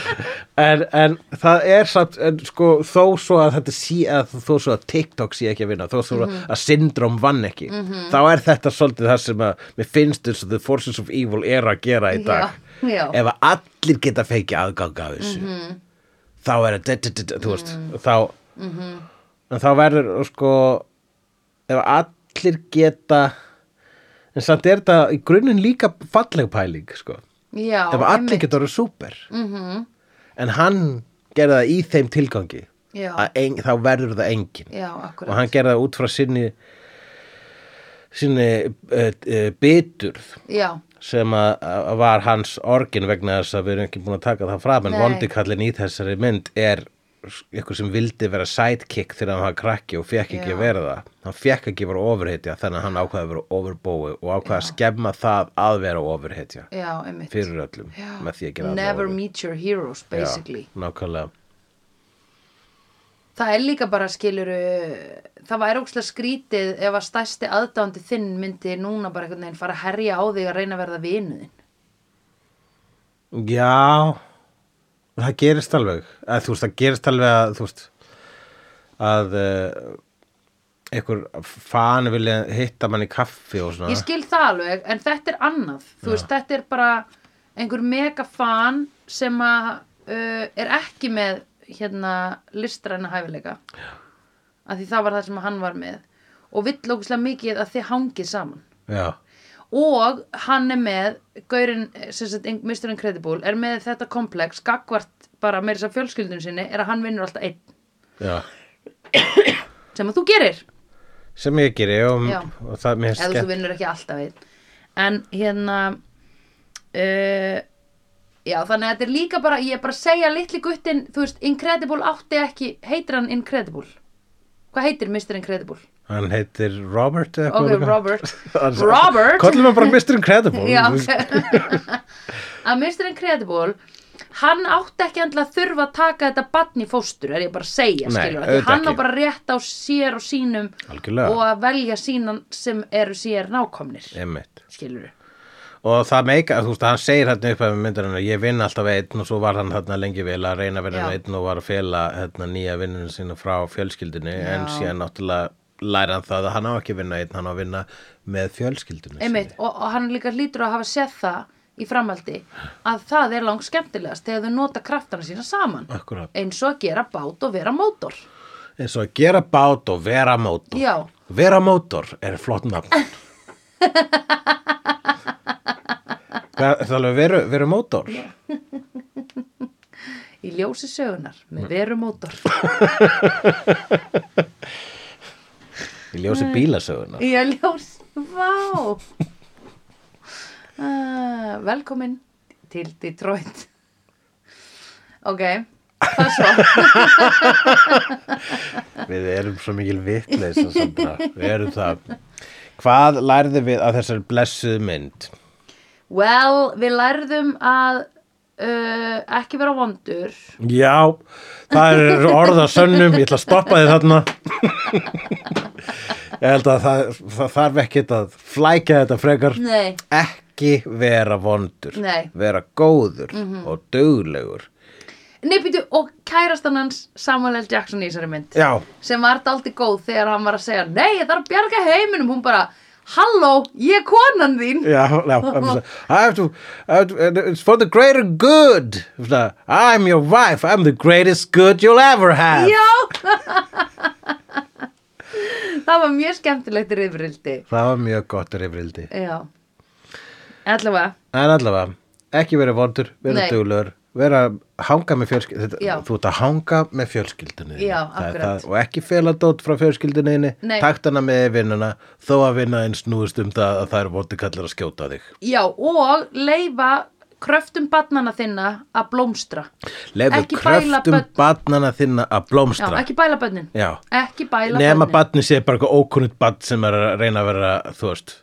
en, en það er satt, en, sko, þó svo að þetta sé að þó svo að TikTok sé ekki að vinna þó svo
Mhm.
að syndrom vann ekki þá er þetta svolítið það sem að mér finnst eins og the forces of evil er að gera í dag
Já, já. Mhm.
ef að allir geta feikið aðganga af þessu þá er þetta þú veist, þá
Mhm.
en þá verður sko ef allir geta en samt er þetta í grunninn líka falleg pæling sko
Já,
ef allir
einmitt. Mhm.
getur orðið súper en hann gerði það í þeim tilgangi
Já.
að ein, þá verður það engin
Já,
og
akkurat.
hann gerði það út frá sinni sinni uh, uh, biturð
Já,
sem að, að var hans orgin vegna þess að við erum ekki búin að taka það fram en
Nei.
vondikallin í þessari mynd er ykkur sem vildi vera sidekick þegar hann var krakki og fekk ekki
Já.
að vera það hann fekk ekki að vera ofurhetja þannig að hann ákvaði að vera overbói og ákvaði að skemma það að vera ofurhetja
já, einmitt.
fyrir öllum
Já.
með því að gera alla
Never
ofur.
meet your heroes, basically.
Já, nákvæmlega
Það er líka bara skilur það væri ókslega skrítið ef að stærsti aðdándi þinn myndi núna bara einhvern veginn fara að herja á þig að reyna að verða vinuðin.
Já það gerist alveg að, þú veist, það gerist alveg að þú veist að uh, einhver fan vilja hitta mann í kaffi og svona
Ég skil það alveg en þetta er annað. Þú veist, þetta er bara einhver megafan sem að uh, er ekki með hérna listræna hæfileika. Já. Af því það var það sem hann var með. Og vill ókslega mikið að þið hangið saman.
Já,
og hann er með Gaurin, sem sagt, In- Mr. Incredible er með þetta komplex, gagvart bara meira þess að fjölskyldun sinni, er að hann vinnur alltaf einn,
já
sem að þú gerir
sem ég geri og,
Já.
og það mér
eða þú
skemmt
vinnur ekki alltaf einn en hérna uh, já, þannig að þetta er líka bara ég er bara að segja litli guttin þú veist, Incredible átti ekki heitir hann Incredible? Hvað heitir Mr. Incredible?
hann heitir Robert eða
Ok,
eitthvað.
Robert.
Hann-
Robert?
Köllum hann bara Mr. Incredible
Já,
þú veist.
ok. að Mr. Incredible hann átti ekki endilega að þurfa að taka þetta batn í fóstur er ég bara að segja
Nei,
skilur,
auðvitað
hann á
ekki.
bara rétt á sér og sínum
Algjörlega.
og að velja sínan sem eru sér nákomnir
Einmitt.
skilur
og það meika, þú veist, hann segir hérna upp að myndir hann að ég vinn alltaf einn og svo var hann hérna lengi vel að reyna að vera
Já.
einn og var að fela hérna nýja vinnunum sína frá fjölskyldinu
Já.
en síðan náttúrulega læra hann það að hann á ekki að vinna einn, hann á að vinna með fjölskyldinu
einmitt, og, og hann líka hlýtur að hafa séð það í framhaldi að það er langt skemmtilegast þegar þau nota kraftana sína saman
Akkurat.
eins og að gera bát og vera mótor
sinni eins og að gera bát og vera mótor
Já.
vera mótor er flott nafn Það það er alveg veru, veru mótor
í ljósi sögunar
Mm.
með veru mótor
í ljósi bílasöguna
Í að ljós, vá uh, Velkomin til Detroit Ok, það svo
Við erum svo mikil vitleis Við erum það Hvað lærði við af þessari blessuð mynd?
Well, við lærðum að uh, ekki vera vondur
Já, það er orða sönnum Ég ætla að stoppa þið þarna Ég held að það, það þarf ekkit að flækja þetta frekar
Nei,
Ekki vera vondur
Nei. Mhm.
Vera góður og duglegur
Nei býtu, og kærastan hans Samuel L. Jackson í þessari mynd
Já,
sem var daldi góð þegar hann var að segja Nei, ég þarf að bjarga heiminum Hún bara, halló, ég er konan þín
já, já I'm so- I have to, I have to, It's for the greater good Svona, I'm your wife, I'm the greatest good you'll ever have
Já Það var mjög skemmtilegt rifrildi
Það var mjög gott rifrildi.
Já Allavega,
En allavega, ekki vera vondur, vera
Nei.
duglur, vera hanga með fjölskyldunni.
Já.
Þú ert að hanga með fjölskyldunni. þinni.
Já,
Það er
akkurat.
það. Og ekki fela dót frá fjölskyldunni,
Nei.
takt hana með vinnuna, þó að vinna einn snúðust um það að það eru vondur kallar að skjóta þig.
já og leifa kröftum barnana þinna að blómstra Ekki
Leifðu
bæla
kröftum
börn.
barnana þinna að
Já,
blómstra.
ekki bæla bönnin
Já.
Ekki bæla
Nefn að
börnin.
barni sé bara eitthvað ókunnit barn sem er að reyna að vera, þú veist,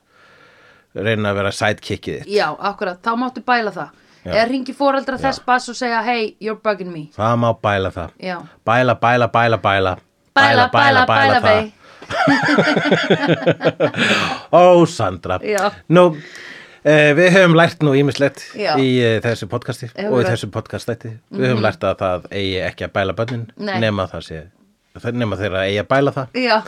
reyna að vera sidekickið þitt.
Já, akkurat, þá máttu bæla það
Já.
Eða ringi fóreldra þess bass og segja Hey, you're bugging me
Það má bæla það.
Já.
Bæla, bæla, bæla, bæla.
Bæla, bæla, bæla,
það.
bæla
Ó, Sandra.
Já.
Nú, eh, við höfum lært nú ímislegt
Já.
í eh, þessu podcasti
Hefur
og í
það.
þessu podcastætti. Við höfum lært að það eigi ekki að bæla bönnin
Nei.
nema það sé það- nema þeirra eigi að bæla það
Já,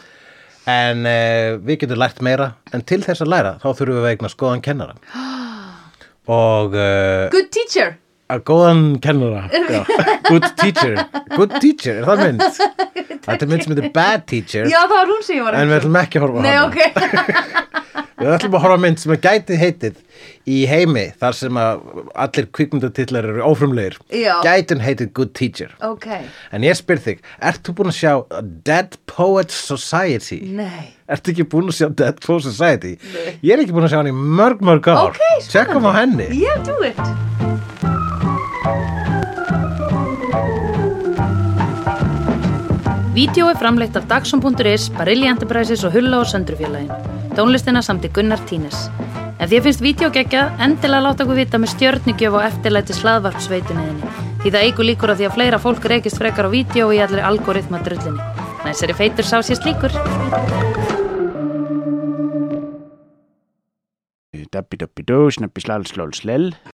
en eh, við getum lært meira en til þess að læra þá þurfum við að eigna skoðan kennara og eh,
good teacher
að góðan kennara Já. good teacher good teacher, er það mynd? þetta er mynd sem heitir bad teacher
Já, það var hún sem ég var að
en við
hugsa um.
ætlum ekki að horfa á
Nei,
hana.
ok
Við ætlum að horfa á mynd sem að gæti heitið í heimi þar sem að allir kvikmyndatillar eru ófrumlegir.
Já.
Gætin heitið Good Teacher.
Ok,
En ég spyr þig, ert þú búin að sjá Dead Poets Society?
nei
Ertu ekki búin að sjá Dead Poets Society?
Nei.
Ég er ekki búin að sjá hann í mörg, mörg ár.
Ok,
Tjekkum á henni.
Yeah, do it Vídeó er framleitt af Dagsum.is, Barilli Enterprises og Hulla og Söndrufjörlægin. Tónlistina samt í Gunnar Tínes. Ef þér finnst vídeo geggja, endilega láta okkur vita með stjörnigjöf og eftirlæti slaðvarp sveitunniðinni. Því það eigur líkur á því að fleira fólk reykist frekar á vídeo í allri algoritma drullinni. Næsari feitur sá sér slíkur.
Dabbi dabbi dó, snabbi slal slal slel